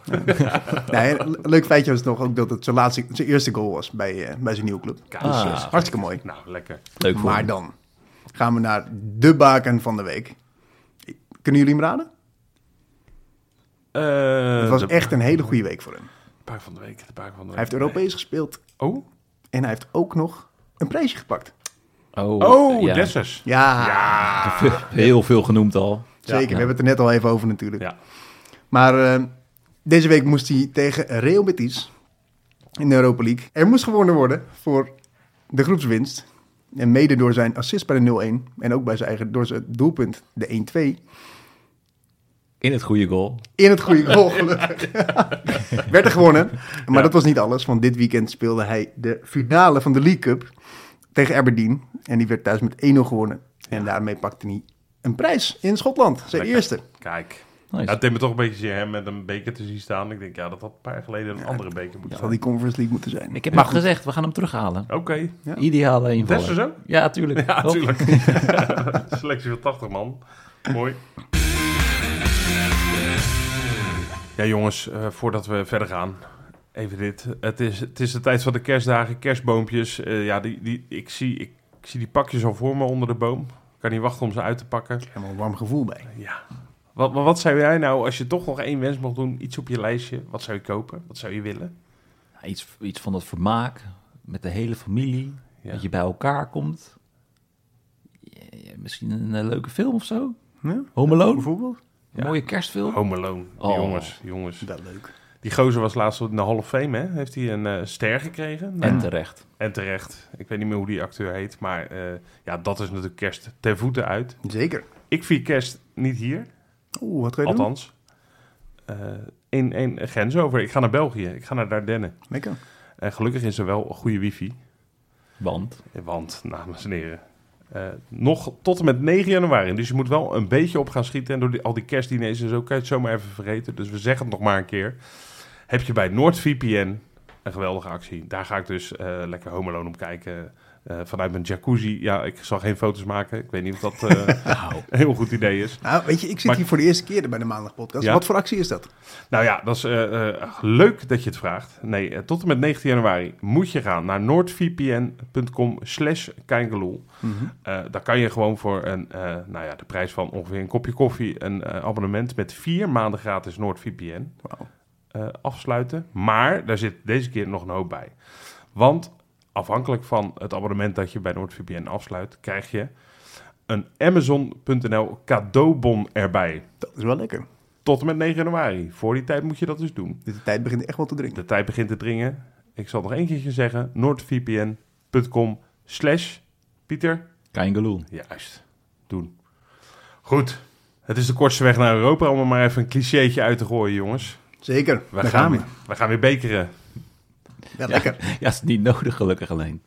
Nee, een le- leuk feitje was nog ook dat het zijn, laatste, zijn eerste goal was bij, eh, bij zijn nieuwe club. Kijk, Ah. Dus, eh, hartstikke mooi. Nou, lekker. leuk voor Maar hem. dan gaan we naar de baken van de week. Kunnen jullie hem raden? Eh, Het was de echt een hele goede week voor hem. Paar van de week, de paar van de week. Hij heeft Europees gespeeld Oh, en hij heeft ook nog een prijsje gepakt. Oh, oh ja. Dessers. Ja, Heel veel genoemd al. zeker. We hebben het er net al even over natuurlijk. Ja. Maar eh, deze week moest hij tegen Real Betis in de Europa League. Er moest gewonnen worden voor de groepswinst. En mede door zijn assist bij de 0-1 en ook bij zijn eigen, door zijn doelpunt, de 1-2. In het goede goal. In het goede goal, gelukkig. Werd er gewonnen. Maar dat was niet alles, want dit weekend speelde hij de finale van de League Cup tegen Aberdeen. En die werd thuis met 1-0 gewonnen. En daarmee pakte hij een prijs in Schotland. Zijn Lekker. eerste. Kijk. Nice. Ja, het deed me toch een beetje zin hem met een beker te zien staan. Ik denk, ja, dat had een paar jaar geleden een andere beker moeten Dat had zijn. die Conference League moeten zijn. Ik heb Maar nog goed, gezegd, we gaan hem terughalen. Oké, [LAUGHS] Ja. Ideale inval. Dessers ook? Ja, tuurlijk. Ja, Toch? [LAUGHS] natuurlijk. [LAUGHS] Selectie van 80 man. Mooi. Ja, jongens, eh, voordat we verder gaan. Even dit. Het is, het is de tijd van de kerstdagen, kerstboompjes. Eh, ja, die, die, ik, zie, ik, ik zie die pakjes al voor me onder de boom. Ik kan niet wachten om ze uit te pakken. helemaal een warm gevoel bij. Ja. Wat, maar wat zou jij nou, als je toch nog één wens mocht doen, iets op je lijstje, wat zou je kopen? Wat zou je willen? Ja, Nou, Iets, iets van dat vermaak met de hele familie. Ja. Dat je bij elkaar komt. Ja, ja, misschien een eh, leuke film of zo. Ja. Home Alone. Bijvoorbeeld? Een mooie kerstfilm. Home Alone. Die Oh. Jongens, jongens. Wel leuk. Die gozer was laatst in de Hall of Fame, hè? Heeft hij een eh, ster gekregen? Nou, En terecht. En terecht. Ik weet niet meer hoe die acteur heet. Maar eh, ja, dat is natuurlijk kerst ten voeten uit. Zeker. Ik vier kerst niet hier. Oeh, wat ga je doen? althans. Eh, in, in grens over. Ik ga naar België. Ik ga naar Dardenne. Lekker. En gelukkig is er wel een goede wifi. Want Want, dames en heren. eh, nog tot en met 9 januari. Dus je moet wel een beetje op gaan schieten. En door die, al die kerstdiners en zo kan je het zomaar even vergeten. Dus we zeggen het nog maar een keer. Heb je bij NoordVPN een geweldige actie. Daar ga ik dus eh, lekker Home Alone om kijken. eh, vanuit mijn jacuzzi. Ja, ik zal geen foto's maken. Ik weet niet of dat eh, een heel goed idee is. Nou, weet je, ik zit Maar- hier voor de eerste keer bij de Maandag Podcast. Ja. Wat voor actie is dat? Nou ja, dat is eh, eh, leuk dat je het vraagt. Nee, eh, tot en met 19 januari moet je gaan naar noordvpn.com slash kijkeloel. Eh, daar kan je gewoon voor een, eh, nou ja, de prijs van ongeveer een kopje koffie... een eh, abonnement met vier maanden gratis NoordVPN Wauw. eh, afsluiten. Maar daar zit deze keer nog een hoop bij. Want afhankelijk van het abonnement dat je bij NoordVPN afsluit... krijg je een Amazon.nl cadeaubon erbij. Dat is wel lekker. Tot en met 9 januari. Voor die tijd moet je dat dus doen. De tijd begint echt wel te drinken. De tijd begint te dringen. Ik zal nog één keertje zeggen. noordvpn.com slash Pieter. Kein Geloel. Juist. Doen. Goed. Het is de kortste weg naar Europa om er maar even een clichétje uit te gooien, jongens. Zeker. We Daar gaan we. Weer, wij gaan weer bekeren. Ja, lekker. [LAUGHS] Ja, is niet nodig gelukkig alleen.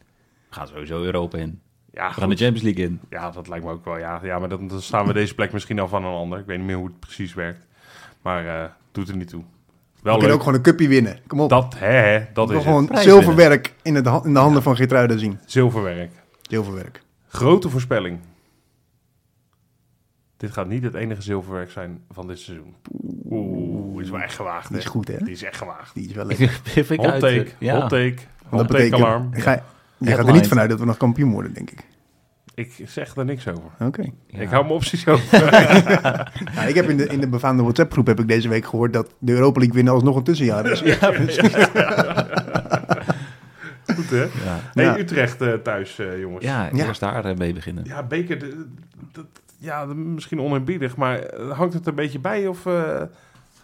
We gaan sowieso Europa in. Ja, We gaan de goed. Champions League in. ja, dat lijkt me ook wel. Ja, ja maar dan, dan staan we deze plek misschien al van een ander. Ik weet niet meer hoe het precies werkt. Maar eh, doet er niet toe. We Wel kunnen leuk. ook gewoon een cupje winnen. Kom op. Dat, hè, hè, dat We is gewoon het. Prijs zilverwerk in, het, ha- in de handen van Geertruida zien. Zilverwerk. Zilverwerk. Grote voorspelling. Dit gaat niet het enige zilverwerk zijn van dit seizoen. Oeh, is wel echt gewaagd. Die is hè? goed, hè? Die is echt gewaagd. Die is wel Ik lekker. [LAUGHS] vind ik Hot uit, eh, take, hot take, Want hot take alarm. [LAUGHS] ik ga, je gaat er Headline. niet vanuit dat we nog kampioen worden, denk ik. Ik zeg er niks over. Oké. Ik hou mijn opties [LAUGHS] over. Nou, ik heb in de, in de befaamde WhatsApp-groep heb ik deze week gehoord dat de Europa League winnen alsnog een tussenjaar is. Goed, hè? Hey, Ja. Utrecht eh, thuis, eh, jongens. Ja, Ja. eerst daar eh, mee beginnen. Ja, Beker, de- dat, ja, de- misschien oneerbiedig, maar eh, hangt het een beetje bij? Of eh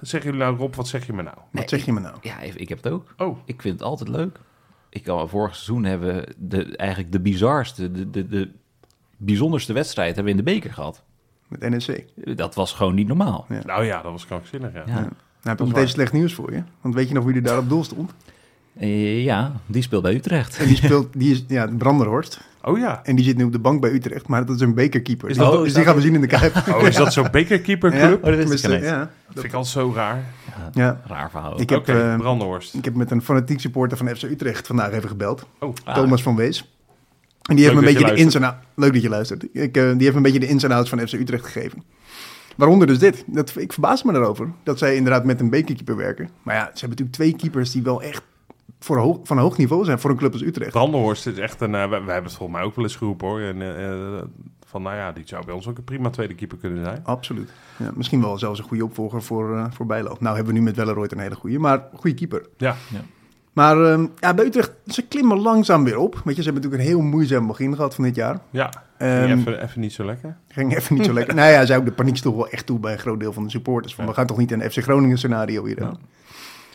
zeggen jullie nou, Rob, wat zeg je me nou? Wat zeg je me nou? Ja, ik ik heb het ook. Oh, Ik vind het altijd leuk. Ik kan vorig seizoen hebben de, eigenlijk de bizarste, de, de, de bijzonderste wedstrijd hebben we in de beker gehad. Met NEC. Dat was gewoon niet normaal. Ja. nou ja, dat was krankzinnig, ja. Ja. Nou, heb ik is meteen waar. slecht nieuws voor je. Want weet je nog wie er daar op doel stond? Eh, ja, die speelt bij Utrecht. En die speelt, die is, ja, Branderhorst. Oh [LAUGHS] ja. En die zit nu op de bank bij Utrecht, maar dat is een bekerkeeper. Is dat- dus die gaan we zien in de [LAUGHS] Kuip. Oh, is dat zo'n bekerkeeperclub? dat wist ik Tenminste, niet. ja, Dat vind ik altijd zo raar. ja. Raar verhaal. Ik Oké, heb, eh, Brandenhorst. Ik heb met een fanatiek supporter van FC Utrecht vandaag even gebeld. Oh, Thomas van Wees. En die heeft me dat een je beetje de ins en outs... Leuk dat je luistert. Ik, eh, die heeft me een beetje de ins en outs van FC Utrecht gegeven. Waaronder dus dit. Dat, ik verbaas me daarover. Dat zij inderdaad met een bekerkeeper werken. Maar ja, ze hebben natuurlijk twee keepers die wel echt voor hoog, van hoog niveau zijn voor een club als Utrecht. Brandenhorst is echt een... eh, wij, wij hebben het volgens mij ook wel eens geroepen hoor. En, eh, eh, van nou ja, die zou bij ons ook een prima tweede keeper kunnen zijn. Absoluut. Ja, misschien wel zelfs een goede opvolger voor, eh voor Bijlo. Nou hebben we nu met Welleroyd een hele goede, maar goede keeper. Ja, Maar ehm, ja, bij Utrecht, ze klimmen langzaam weer op. Weet je, ze hebben natuurlijk een heel moeizaam begin gehad van dit jaar. ja. Ehm, Ging even, even niet zo lekker. Ging even niet zo lekker. nou ja, zei ook de paniekstoel wel echt toe bij een groot deel van de supporters. Van, Ja. we gaan toch niet een FC Groningen scenario hier hebben.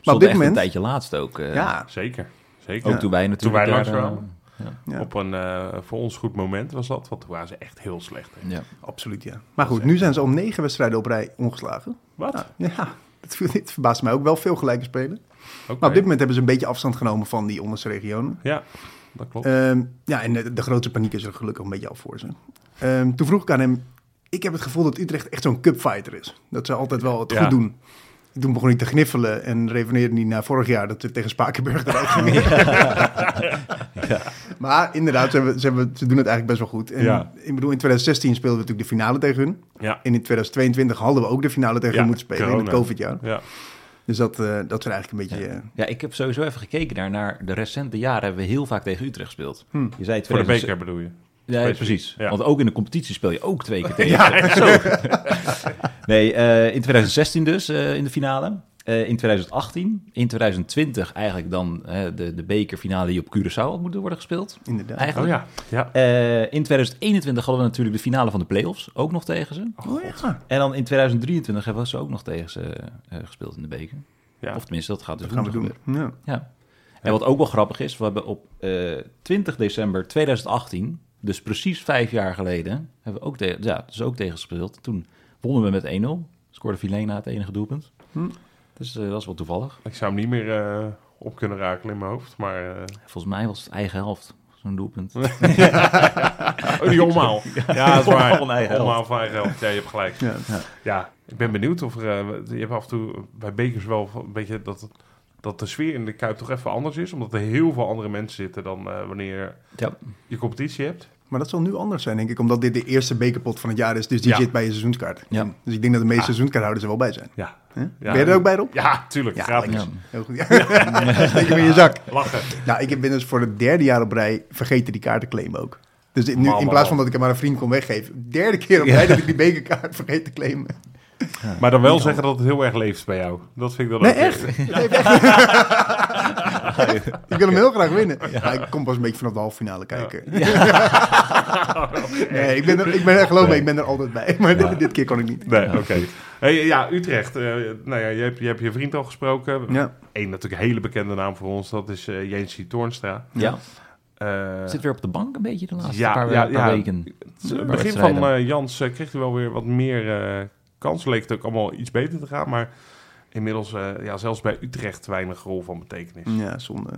Maar op dit een moment... tijdje laatst ook. eh, Ja, Zeker. Zeker. Ook toen wij natuurlijk Toen wij daar, langs eh, kwamen. ja. Op een eh, voor ons goed moment was dat. Want toen waren ze echt heel slecht. hè. ja. absoluut ja. Maar goed, nu zijn ze al negen wedstrijden op rij ongeslagen. Wat? Ja, ja dat, viel- dit verbaast mij ook wel veel gelijke spelen. Oké. Oh Maar Nou, op dit moment hebben ze een beetje afstand genomen van die onderste regionen. Ja, dat klopt. Ehm, ja, en de, de grootste paniek is er gelukkig een beetje af voor ze. Ehm, toen vroeg ik aan hem, ik heb het gevoel dat Utrecht echt zo'n cupfighter is. Dat ze altijd wel het Ja. goed doen. Toen begon hij te gniffelen en reveneerde hij naar vorig jaar dat ze tegen Spakenburg eruit gingen. [LAUGHS] Maar inderdaad, ze, hebben, ze, hebben, ze doen het eigenlijk best wel goed. En, Ja. Ik bedoel, in 2016 speelden we natuurlijk de finale tegen hun. ja. En in 2022 hadden we ook de finale tegen Ja, hun moeten spelen in corona. het COVID-jaar. Ja. Dus dat, eh, dat zijn eigenlijk een beetje... eh, Ja, ik heb sowieso even gekeken naar, naar de recente jaren hebben we heel vaak tegen Utrecht gespeeld. Hm. Je zei Voor de 2006 beker bedoel je? Ja, Specifiek, precies. ja. Want ook in de competitie speel je ook twee keer tegen. [LAUGHS] Zo. nee, eh, in 2016 dus eh, in de finale. Eh, in 2018. In 2020 eigenlijk dan eh, de, de bekerfinale die op Curaçao had moeten worden gespeeld. Inderdaad. Eigenlijk. Oh ja. ja. Eh, in 2021 hadden we natuurlijk de finale van de play-offs ook nog tegen ze. Oh, ja. En dan in 2023 hebben we ze ook nog tegen ze eh, gespeeld in de beker. ja. Of tenminste, dat gaat dus Dat gaan we woensdag doen. gebeuren. Ja. Ja. En wat ook wel grappig is, we hebben op eh, 20 december 2018, dus precies vijf jaar geleden, hebben we ook, tegen, ja, dus ook tegen gespeeld. Toen wonnen we met 1-0, scoorde Vilena het enige doelpunt. Hm. Dus eh, dat is wel toevallig. Ik zou hem niet meer eh, op kunnen raken in mijn hoofd. Maar eh, Volgens mij was het eigen helft zo'n doelpunt. Oh, die [LAUGHS] omhaal. Ja, dat is Omhaal waar. van eigen helft. Omhaal van eigen helft. Ja, je hebt gelijk. Ja, Ja. ik ben benieuwd of er... eh, je hebt af en toe bij Bekers wel een beetje dat, dat de sfeer in de Kuip toch even anders is. Omdat er heel veel andere mensen zitten dan eh, wanneer Ja. je competitie hebt. Maar dat zal nu anders zijn, denk ik, omdat dit de eerste bekerpot van het jaar is. Dus die Ja. zit bij je seizoenskaart. Ja. Dus ik denk dat de meeste seizoenskaarthouders er wel bij zijn. Ja. Hè? Ja. Ben je er ook bij, Rob? Ja, tuurlijk. gratis. ja. Heel goed. Ja. Steek hem in je zak. Lachen. Nou, ik heb binnen voor het derde jaar op rij vergeten die kaartenclaim ook. Dus nu, Mama. in plaats van dat ik hem aan een vriend kon weggeven, derde keer op rij dat ik die bekerkaart vergeet te claimen. Maar dan wel zeggen dat het heel erg leeft bij jou. Dat vind ik dan Nee, ook... echt? Nee, echt. ik wil hem heel graag winnen. Ja, ik kom pas een beetje vanaf de halve finale kijken. [LAUGHS] nee, ik ben er, ik ben er, geloof me, ik ben er altijd bij. Maar dit, dit keer kon ik niet. Nee, oké. Hey, ja, Utrecht. eh, nou ja, je hebt, je hebt je vriend al gesproken. Ja. Eén natuurlijk hele bekende naam voor ons. Dat is eh Jensie Toornstra. ja. Eh, Zit weer op de bank een beetje de laatste Ja, paar, ja, paar ja. weken. Het Paar begin van wedstrijden. eh, Jans eh, kreeg hij wel weer wat meer eh, kans. Leek het ook allemaal iets beter te gaan. Maar inmiddels, eh, ja, zelfs bij Utrecht weinig rol van betekenis. Ja, zonde.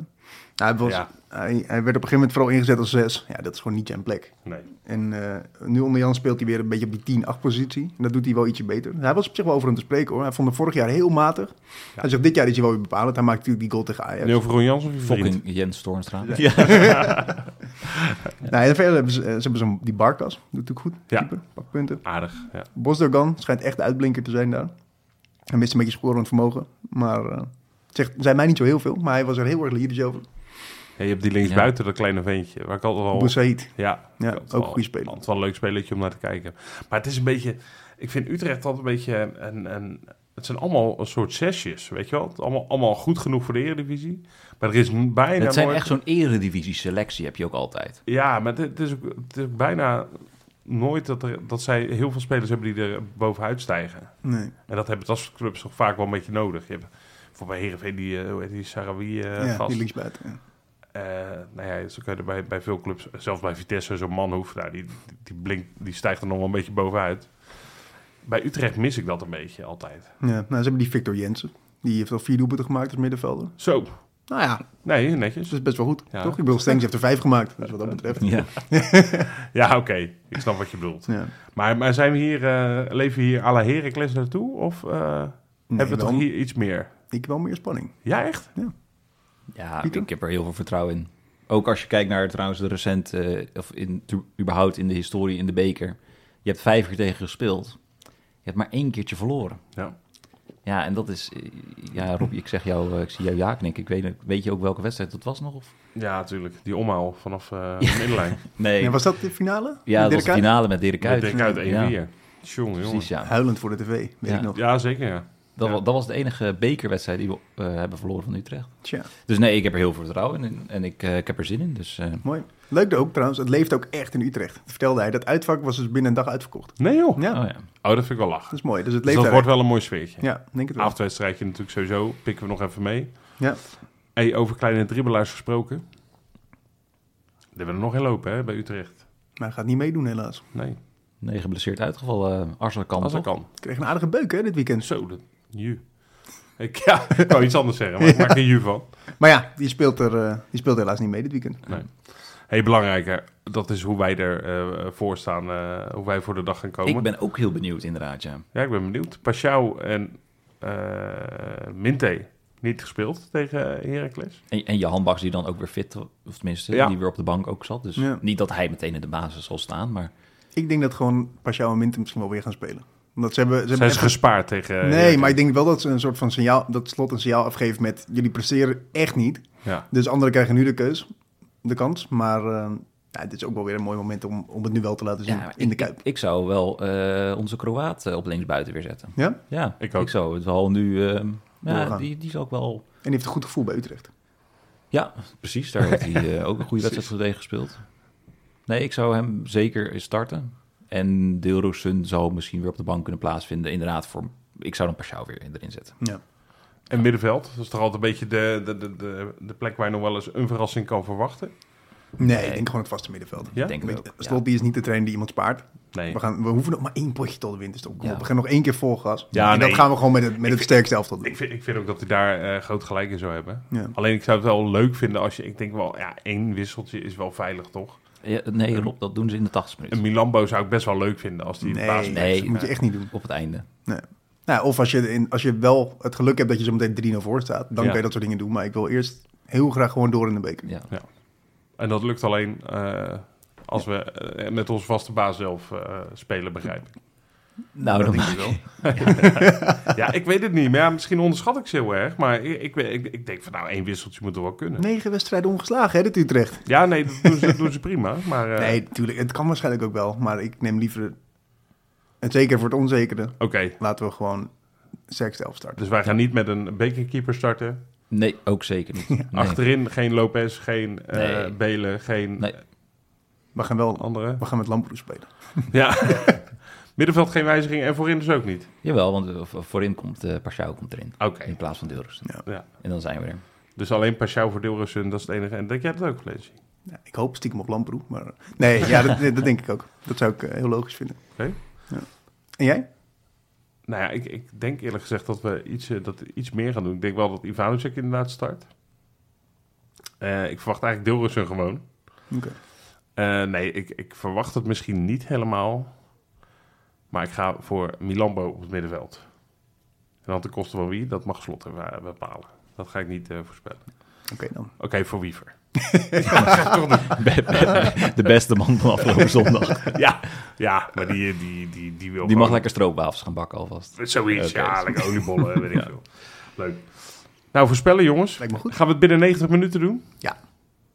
Nou, hij, was, Ja. hij, hij werd op een gegeven moment vooral ingezet als zes. Ja, dat is gewoon niet zijn plek. Nee. En eh, nu onder Jan speelt hij weer een beetje op die 10-8 positie. En dat doet hij wel ietsje beter. Hij was op zich wel over hem te spreken hoor. Hij vond hem vorig jaar heel matig. Hij zegt, dit jaar is hij wel weer bepalend. Hij maakt natuurlijk die goal tegen Ajax. Nu over Ron Jans of je vriend? Fucking Jens Toornstra. Ja. Nou, en verder hebben ze, eh, ze hebben zo'n, die Barkas. Doet natuurlijk goed. Ja. Keeper, pak punten. Aardig, ja. Bosdogan schijnt echt de uitblinker te zijn daar. Hij mist een beetje scorend vermogen. Maar eh, het zegt, zei mij niet zo heel veel. Maar hij was er heel erg lyrisch over. Oh. Ja, je hebt die linksbuiten, dat kleine ventje. Waar ik altijd al... Boussaïd. Ja, Ja, ik had ook wel- goede speler. altijd wel een leuk spelletje om naar te kijken. Maar het is een beetje... Ik vind Utrecht altijd een beetje... Een, een, het zijn allemaal een soort zesjes, weet je wel? Het Allemaal, allemaal goed genoeg voor de Eredivisie. Maar er is n- bijna Het zijn nooit... echt zo'n eredivisie selectie heb je ook altijd. Ja, maar het is ook, het is ook bijna nooit dat, er, dat zij heel veel spelers hebben die er bovenuit stijgen. Nee. En dat hebben dat soort clubs toch vaak wel een beetje nodig. Je hebt voor bij Heerenveen die, eh, hoe heet die Sarawi eh ja, gast. die linksbuiten. Ja. Eh, nou ja, zo kan je er bij, bij veel clubs, zelfs bij Vitesse, zo'n manhoef, nou, die, die, blinkt, die stijgt er nog wel een beetje bovenuit. Bij Utrecht mis ik dat een beetje altijd. Ja, nou, ze hebben die Victor Jensen. Die heeft al vier doelpunten gemaakt als middenvelder. Zo, Nou ja, Nee, dus netjes. dat is best wel goed, Ja. toch? Ik bedoel, Stengs heeft er vijf gemaakt, dus wat dat betreft. Ja. Ja, oké. Ik snap wat je bedoelt. Ja. Maar, maar zijn we hier, eh, leven we hier à la Heracles naartoe? Of eh, hebben we wel- toch hier iets meer? Ik wel meer spanning. Ja, echt? Ja, Pieter? ik heb er heel veel vertrouwen in. Ook als je kijkt naar trouwens de recente, eh, of in, tu- überhaupt in de historie in de beker. Je hebt vijf keer tegen gespeeld. Je hebt maar één keertje verloren. Ja. Ja, en dat is... eh, Ja, Rob, ik zeg jou, eh, ik zie jou ja knikken. Ik weet, weet je ook welke wedstrijd dat was nog? Of? Ja, natuurlijk. Die omhaal vanaf eh de middenlijn. Nee, Ja, was dat de finale? ja, Met dat was Dirk de Kuyt? finale met Dirk Met Kuyt. Dirk uit 1-4. Ja, Jongen, jongen. precies, ja. Huilend voor de tv, weet Ja. ik nog. Ja, zeker ja. Dat, Ja. wa- dat was de enige bekerwedstrijd die we eh, hebben verloren van Utrecht. Tja, Dus nee, ik heb er heel veel vertrouwen in en ik, eh, ik heb er zin in. Dus eh, mooi. Leuk ook trouwens, het leeft ook echt in Utrecht. Dat vertelde hij, dat uitvak was dus binnen een dag uitverkocht. Nee joh. Ja, oh ja. Oh, dat vind ik wel dat lachen. is mooi. Dus het Dus leeft dat daar wordt wel een mooi sfeertje. echt. Ja, denk het wel. Avondwedstrijdje natuurlijk sowieso. Pikken we nog even mee. Ja. Hey, over kleine dribbelaars gesproken. Er willen nog heel lopen hè, bij Utrecht. Maar hij gaat niet meedoen helaas. Nee, nee, geblesseerd uitgevallen. Uh, Arsenal kan als dat toch? kan. Ik kreeg een aardige beuk hè, dit weekend. Zo, dat... Ju. Ik, [LAUGHS] ja, ik wou iets anders zeggen, maar ik maak er ju van. Maar ja, die speelt, er, eh, die speelt helaas niet mee dit weekend. Hey, belangrijker. Dat is hoe wij ervoor voor staan. eh, hoe wij voor de dag gaan komen. Ik ben ook heel benieuwd inderdaad, ja. Ja, ik ben benieuwd. Pashao en eh Minte niet gespeeld tegen eh, Heracles. En, en Johan Baks die dan ook weer fit, of tenminste, Ja. die weer op de bank ook zat. Dus Ja. niet dat hij meteen in de basis zal staan, maar Ik denk dat gewoon Pashao en Minten misschien wel weer gaan spelen. Omdat ze hebben... Ze hebben Zijn ze echt- gespaard tegen eh, Nee, Heracles? maar ik denk wel dat ze een soort van signaal, dat slot een signaal afgeeft met jullie presteren echt niet. Ja. Dus anderen krijgen nu de keus, de kans. Maar eh, ja, dit is ook wel weer een mooi moment om, om het nu wel te laten zien ja, in de ik, Kuip. ik zou wel eh, onze Kroaat eh, op linksbuiten weer zetten. Ja? Ja, Ik ook. Ik zou het wel nu... eh, ja, Doorgaan. die, die zal ook wel... En die heeft een goed gevoel bij Utrecht. Ja, precies. Daar heeft hij eh, ook een [LAUGHS] goede wedstrijd tegen gespeeld. Nee, ik zou hem zeker starten. En Deelroesun zou misschien weer op de bank kunnen plaatsvinden. Inderdaad, voor, ik zou dan Pashao weer erin zetten. Ja. En middenveld. Dat is toch altijd een beetje de, de, de, de, de plek waar je nog wel eens een verrassing kan verwachten. Nee, ik denk gewoon het vaste middenveld. Ja? Ik denk het Weet je, ook. Slot die is niet de trainer die iemand spaart. Nee. We, gaan, we hoeven nog maar één potje tot de winterstop. Ja. We gaan nog één keer vol gas. Ja, en nee. dat gaan we gewoon met het, met het sterkste elftal doen. Ik vind, ik vind ook dat hij daar eh, groot gelijk in zou hebben. Ja. Alleen ik zou het wel leuk vinden als je... Ik denk wel, ja, één wisseltje is wel veilig, toch? Ja, nee, Rob, dat doen ze in de 80 Een minuten. Milambo zou ik best wel leuk vinden als die in de basis Nee, Nee. dat moet je echt niet doen. Op het einde. Nee. Nou, of als je, in, als je wel het geluk hebt dat je zo meteen 3-0 voor staat, dan Ja. kan je dat soort dingen doen. Maar ik wil eerst heel graag gewoon door in de beker. Ja. En dat lukt alleen eh, als we eh, met onze vaste baas zelf eh, spelen, begrijp ik. Nou, dan Denk je wel? ja, ik weet het niet. Maar ja, misschien onderschat ik ze heel erg. Maar ik, ik, weet- ik, ik denk van nou, één wisseltje moet er wel kunnen. Negen wedstrijden ongeslagen, hè, dit Utrecht. Ja, nee, dat doen ze, dat doen ze prima. Maar eh, Nee, natuurlijk. Het kan waarschijnlijk ook wel. Maar ik neem liever... En zeker voor het onzekere, oké. laten we gewoon sterkste elf starten. Dus wij gaan niet met een bekerkeeper starten. Nee, ook zeker [LAUGHS] niet. Nee. Achterin geen Lopez, geen eh, Nee. Belen, geen Nee. We gaan wel andere. we gaan met Lamproes spelen. Ja. [LAUGHS] Middenveld geen wijziging en voorin dus ook niet. Jawel, want eh, voor- voorin komt eh Pashao komt erin. Oké. In plaats van Deelroes. Ja. En dan zijn we [LAUGHS] er. Dus alleen Pashao voor Deelrussen, dat is het enige. En denk jij dat ook, Vleesje? Ja, ik hoop stiekem op Lamproes, maar... Nee, ja, dat, [LAUGHS] dat denk ik ook. Dat zou ik eh, heel logisch vinden. Oké. Ja. En jij? Nou ja, ik, ik denk eerlijk gezegd dat we iets, eh, dat we iets meer gaan doen. Ik denk wel dat Ivanovic inderdaad start. Eh, ik verwacht eigenlijk Dilrussen gewoon. Oké. Eh, nee, ik, ik verwacht het misschien niet helemaal. Maar ik ga voor Milambo op het middenveld. En dan ten koste van wie, dat mag Slot even, eh, bepalen. Dat ga ik niet eh, voorspellen. Oké dan. Oké, voor Wiever. [LAUGHS] De beste man van [LAUGHS] afgelopen zondag. ja, ja, maar die, eh, die, die, die wil Die mag gewoon- lekker stroopwafels gaan bakken alvast. Zoiets, Oké. ja, lekker [LAUGHS] oliebollen, weet ik veel. Leuk. Nou, voorspellen jongens. Lijkt me goed. Gaan we het binnen 90 minuten doen? Ja.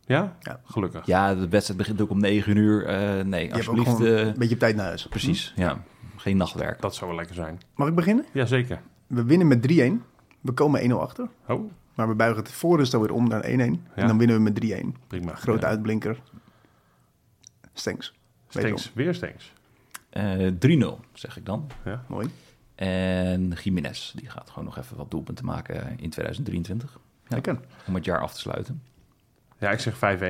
Ja? Ja. Gelukkig. Ja, de wedstrijd begint ook om 9 uur. Eh, nee, Je hebt ook alsjeblieft. gewoon eh, een beetje op tijd naar huis. precies, ja. Geen nachtwerk. Dat zou wel lekker zijn. Mag ik beginnen? Jazeker. We winnen met 3-1. We komen 1-0 achter. Oh, Maar we buigen het voorrust alweer om naar 1-1. Ja. En dan winnen we met 3-1. prima. Grote Ja. uitblinker. Stenks. Stenks, weer Stenks. Eh, 3-0, zeg ik dan. Mooi. En Jiménez, die gaat gewoon nog even wat doelpunten maken in 2023. Ja. Lekker. Om het jaar af te sluiten. Ja, ik zeg 5-1.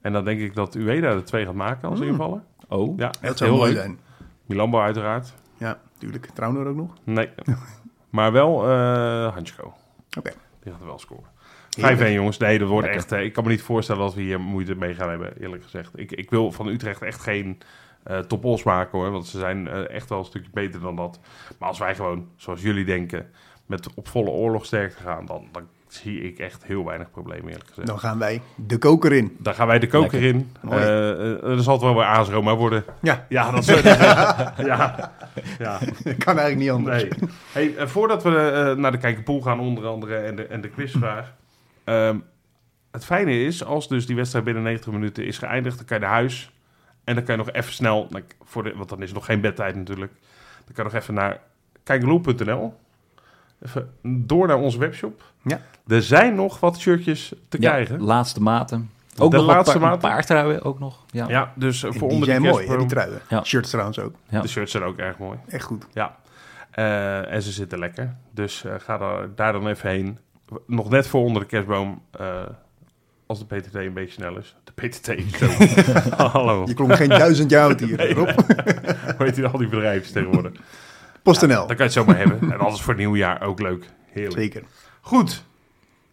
En dan denk ik dat Ueda de twee gaat maken als invaller. Oh, Ja, Hmm. Dat echt zou heel mooi leuk. zijn. Milambo uiteraard. Ja, tuurlijk. [LAUGHS] Trouwner ook nog. Nee. maar wel eh Hansko. Oké. Die gaat er wel scoren. Vijf één, jongens. Nee, dat wordt echt... eh, ik kan me niet voorstellen dat we hier moeite mee gaan hebben, eerlijk gezegd. Ik, ik wil van Utrecht echt geen eh top os maken, hoor. Want ze zijn eh, echt wel een stukje beter dan dat. Maar als wij gewoon, zoals jullie denken, met op volle oorlogsterkte gaan... Dan, dan zie ik echt heel weinig problemen, eerlijk gezegd. Dan gaan wij de koker in. Daar gaan wij de koker Lekker. in. Eh Mooi. eh, er zal het wel weer ASROMA worden. Ja, Ja, dat is [LAUGHS] ja. ja. [LAUGHS] dat kan eigenlijk niet anders. Nee. Hey, eh, voordat we eh, naar de kijkerpool gaan, onder andere, en de, en de quizvraag. Ehm, het fijne is, als dus die wedstrijd binnen 90 minuten is geëindigd, dan kan je naar huis. En dan kan je nog even snel, nou, ik- voor de, want dan is het nog geen bedtijd natuurlijk. Dan kan je nog even naar kijkerloop.nl. Even door naar onze webshop. Ja. Er zijn nog wat shirtjes te Ja, krijgen. laatste maten. Ook De nog een laatste paar, maten. paardruien ook nog. Ja. Ja, dus eh, En voor die onder de zijn mooi, hè, die kerstboom. truien. Ja. Shirts trouwens ook. Ja. De shirts zijn ook erg mooi. Echt goed. Ja. Eh, en ze zitten lekker. Dus eh, ga daar, daar dan even heen. Nog net voor onder de kerstboom. eh, als de PTT een beetje snel is. De PTT is zo. Hallo. [LAUGHS] Je klonk geen duizend jaar oud hier, Rob. Hoe heet die al die bedrijven tegenwoordig? PostNL, Dan kan je het zomaar hebben. En alles voor het nieuwjaar ook leuk. Heerlijk. zeker. Goed.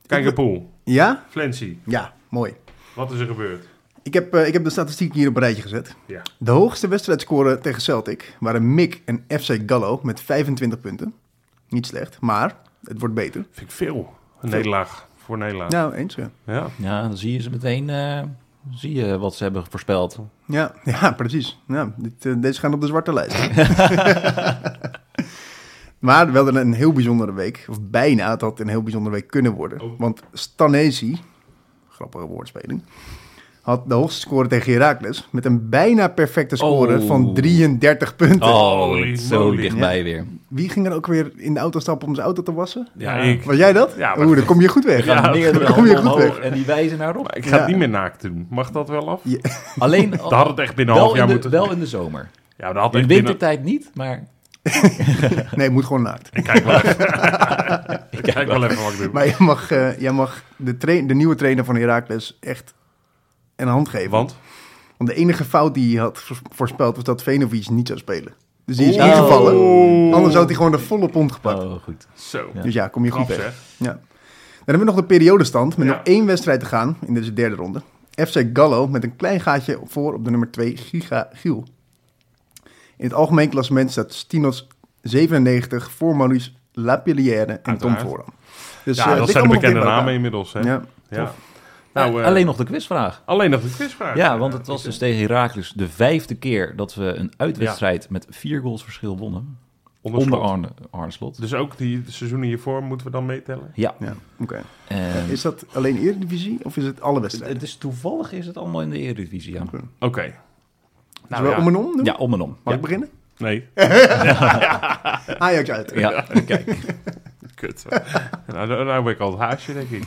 Kijk naar Poel. Ja? Flancy. Ja, mooi. Wat is er gebeurd? Ik heb, eh, ik heb de statistiek hier op een rijtje gezet. Ja. De hoogste wedstrijdscoren tegen Celtic waren Mick en FC Gallo met 25 punten. Niet slecht, maar het wordt beter. Vind ik veel. Een nederlaag. Voor Nederland. Ja. Nou, eens. Ja, Ja, dan zie je ze meteen eh, zie je wat ze hebben voorspeld. Oh, ja, ja precies. Ja, dit, eh, deze gaan op de zwarte [LAUGHS] lijst. maar wel een heel bijzondere week. Of bijna het had een heel bijzondere week kunnen worden. Oh. Want Stanesi, grappige woordspeling, had de hoogste score tegen Heracles met een bijna perfecte score Oh. van 33 punten. Holy Oh, zo moly. dichtbij weer. Wie ging er ook weer in de auto stappen om zijn auto te wassen? Ja, ik. Was jij dat? Ja, Ja, maar- Oeh, dan kom je goed [LAUGHS] weg. Gaan Ja, meerdere dan kom je handen goed omhoog weg. En die wijzen naar op. [LAUGHS] Maar ik ga het Ja. niet meer naakt doen. Mag dat wel af? Ja. Alleen Dat had het echt binnen een half wel, jaar in de, moeten... wel in de zomer. Ja, dat had In echt de binnen... wintertijd niet, maar Nee, het moet gewoon naakt. Ik [LAUGHS] kijk wel even. ik kijk wel even wat ik doe. Maar jij mag, eh, jij mag de, trai- de nieuwe trainer van Heracles echt een hand geven. Want? Want de enige fout die hij had vo- voorspeld was dat Venovic niet zou spelen. Dus die is Oeh. ingevallen. Anders had hij gewoon de volle pond gepakt. oh, goed. Zo. Dus ja, kom je goed Knap, weg. zeg. Ja. Dan hebben we nog de periodestand met Ja. nog één wedstrijd te gaan in deze derde ronde. FC Gallo met een klein gaatje voor op de nummer 2 Giga Giel. In het algemeen klassement staat Stinos 97 voor Maurice Lapillière en Uiteraard. Tom Vooran. Dus Ja, eh, dat ligt zijn de allemaal nog bekende in namen bij eh. elkaar. inmiddels. Hè? Ja. Ja. Nou, Nou, eh, Alleen nog de quizvraag. alleen nog de quizvraag. Ja, want het Eh, was dus tegen Heracles de vijfde keer dat we een uitwedstrijd met vier goals verschil wonnen. onder Onder slot. Arne, Arne Slot. Eh, Dus ook die seizoenen hiervoor moeten we dan meetellen? Ja. Ja, oké. En Is dat alleen Eredivisie of is het alle wedstrijden? het is toevallig is het allemaal in de Eredivisie. Ja, Oké. Zullen we Nou ja. om en om doen? ja om en om. Mag Ja. ik beginnen? Nee. Ajax uit. Ja, kijk. [LAUGHS] Kut. nou, nou, nou ben ik al het haasje, denk ik.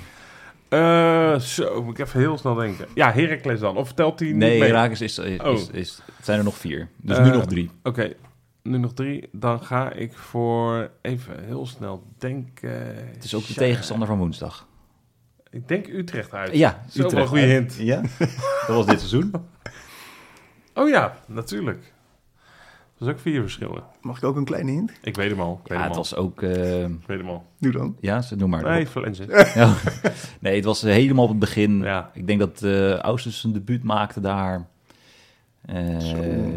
Eh, zo, moet ik even heel snel denken. Ja, Heracles dan. Of telt die niet Nee, mee? Heracles is, is, Oh. is, is- zijn er nog vier. Dus Eh, nu nog drie. Oké, nu nog drie. Dan ga ik voor even heel snel denken. Het is ook de Tja. tegenstander van woensdag. Ik denk Utrecht uit. Ja, Zo, wat een goede hint. [LAUGHS] Ja, dat was dit seizoen. Oh ja, natuurlijk. Dat is ook vier verschillen. Mag ik ook een kleine hint? Ik weet hem al. Ik weet, Ja, het hem, al. was ook... eh, Ik weet hem al. Doe dan. ja, ze- noem maar. Nee, Valencia. [LAUGHS] Ja. Nee, het was eh, helemaal op het begin. Ja. Ik denk dat eh Ausus zijn debuut maakte daar. Eh,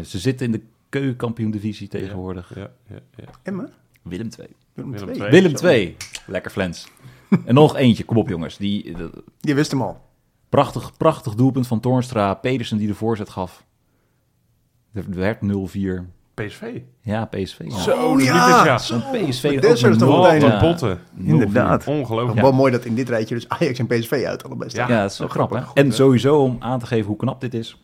ze zitten in de keukenkampioen-divisie tegenwoordig. Ja, ja, ja. Emma? Willem 2. Willem Willem II. II. Willem Zo. 2. Lekker flens. en nog eentje. Kom op, jongens. Die, eh, dat- Je wist hem al. prachtig, prachtig doelpunt van Toornstra. Pedersen die de voorzet gaf. Er werd 0-4. PSV. Ja, PSV. Oh, Ja. Zo, ja. Een PSV Met ook Dessers een toch nul- Wat een meteen. ja, botten. 0-4. Inderdaad. Ongelooflijk. Wel mooi dat in dit rijtje dus Ajax en PSV uit allebei staan. Ja, dat is wel grappig. hè? en sowieso om aan te geven hoe knap dit is.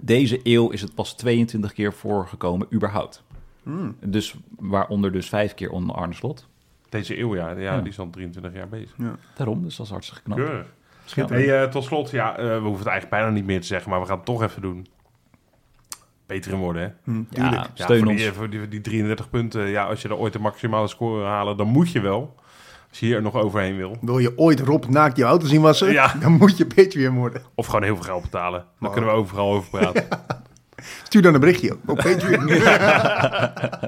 Deze eeuw is het pas 22 keer voorgekomen, überhaupt. Hmm. Dus waaronder dus vijf keer onder Arne Slot. Deze eeuw, ja, ja, Ja. die is al 23 jaar bezig. Daarom, dus dat is hartstikke knap. Keurig. Schitterend. Hey, eh, tot slot, ja, eh, we hoeven het eigenlijk bijna niet meer te zeggen, maar we gaan het toch even doen. Beter in worden, hè? Hm. ja, Ja, steun voor ons. Die, eh, voor die, die 33 punten, ja, als je er ooit de maximale score wil halen, dan moet je wel. Als je hier nog overheen wil. Wil je ooit Rob naakt je auto zien wassen? Ja. Dan moet je Patreon worden. Of gewoon heel veel geld betalen. Dan kunnen we overal over praten. Stuur dan een berichtje op, op Patreon.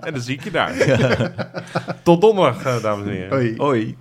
En dan zie ik je daar. Tot donderdag, eh, dames en heren. Hoi. Hoi.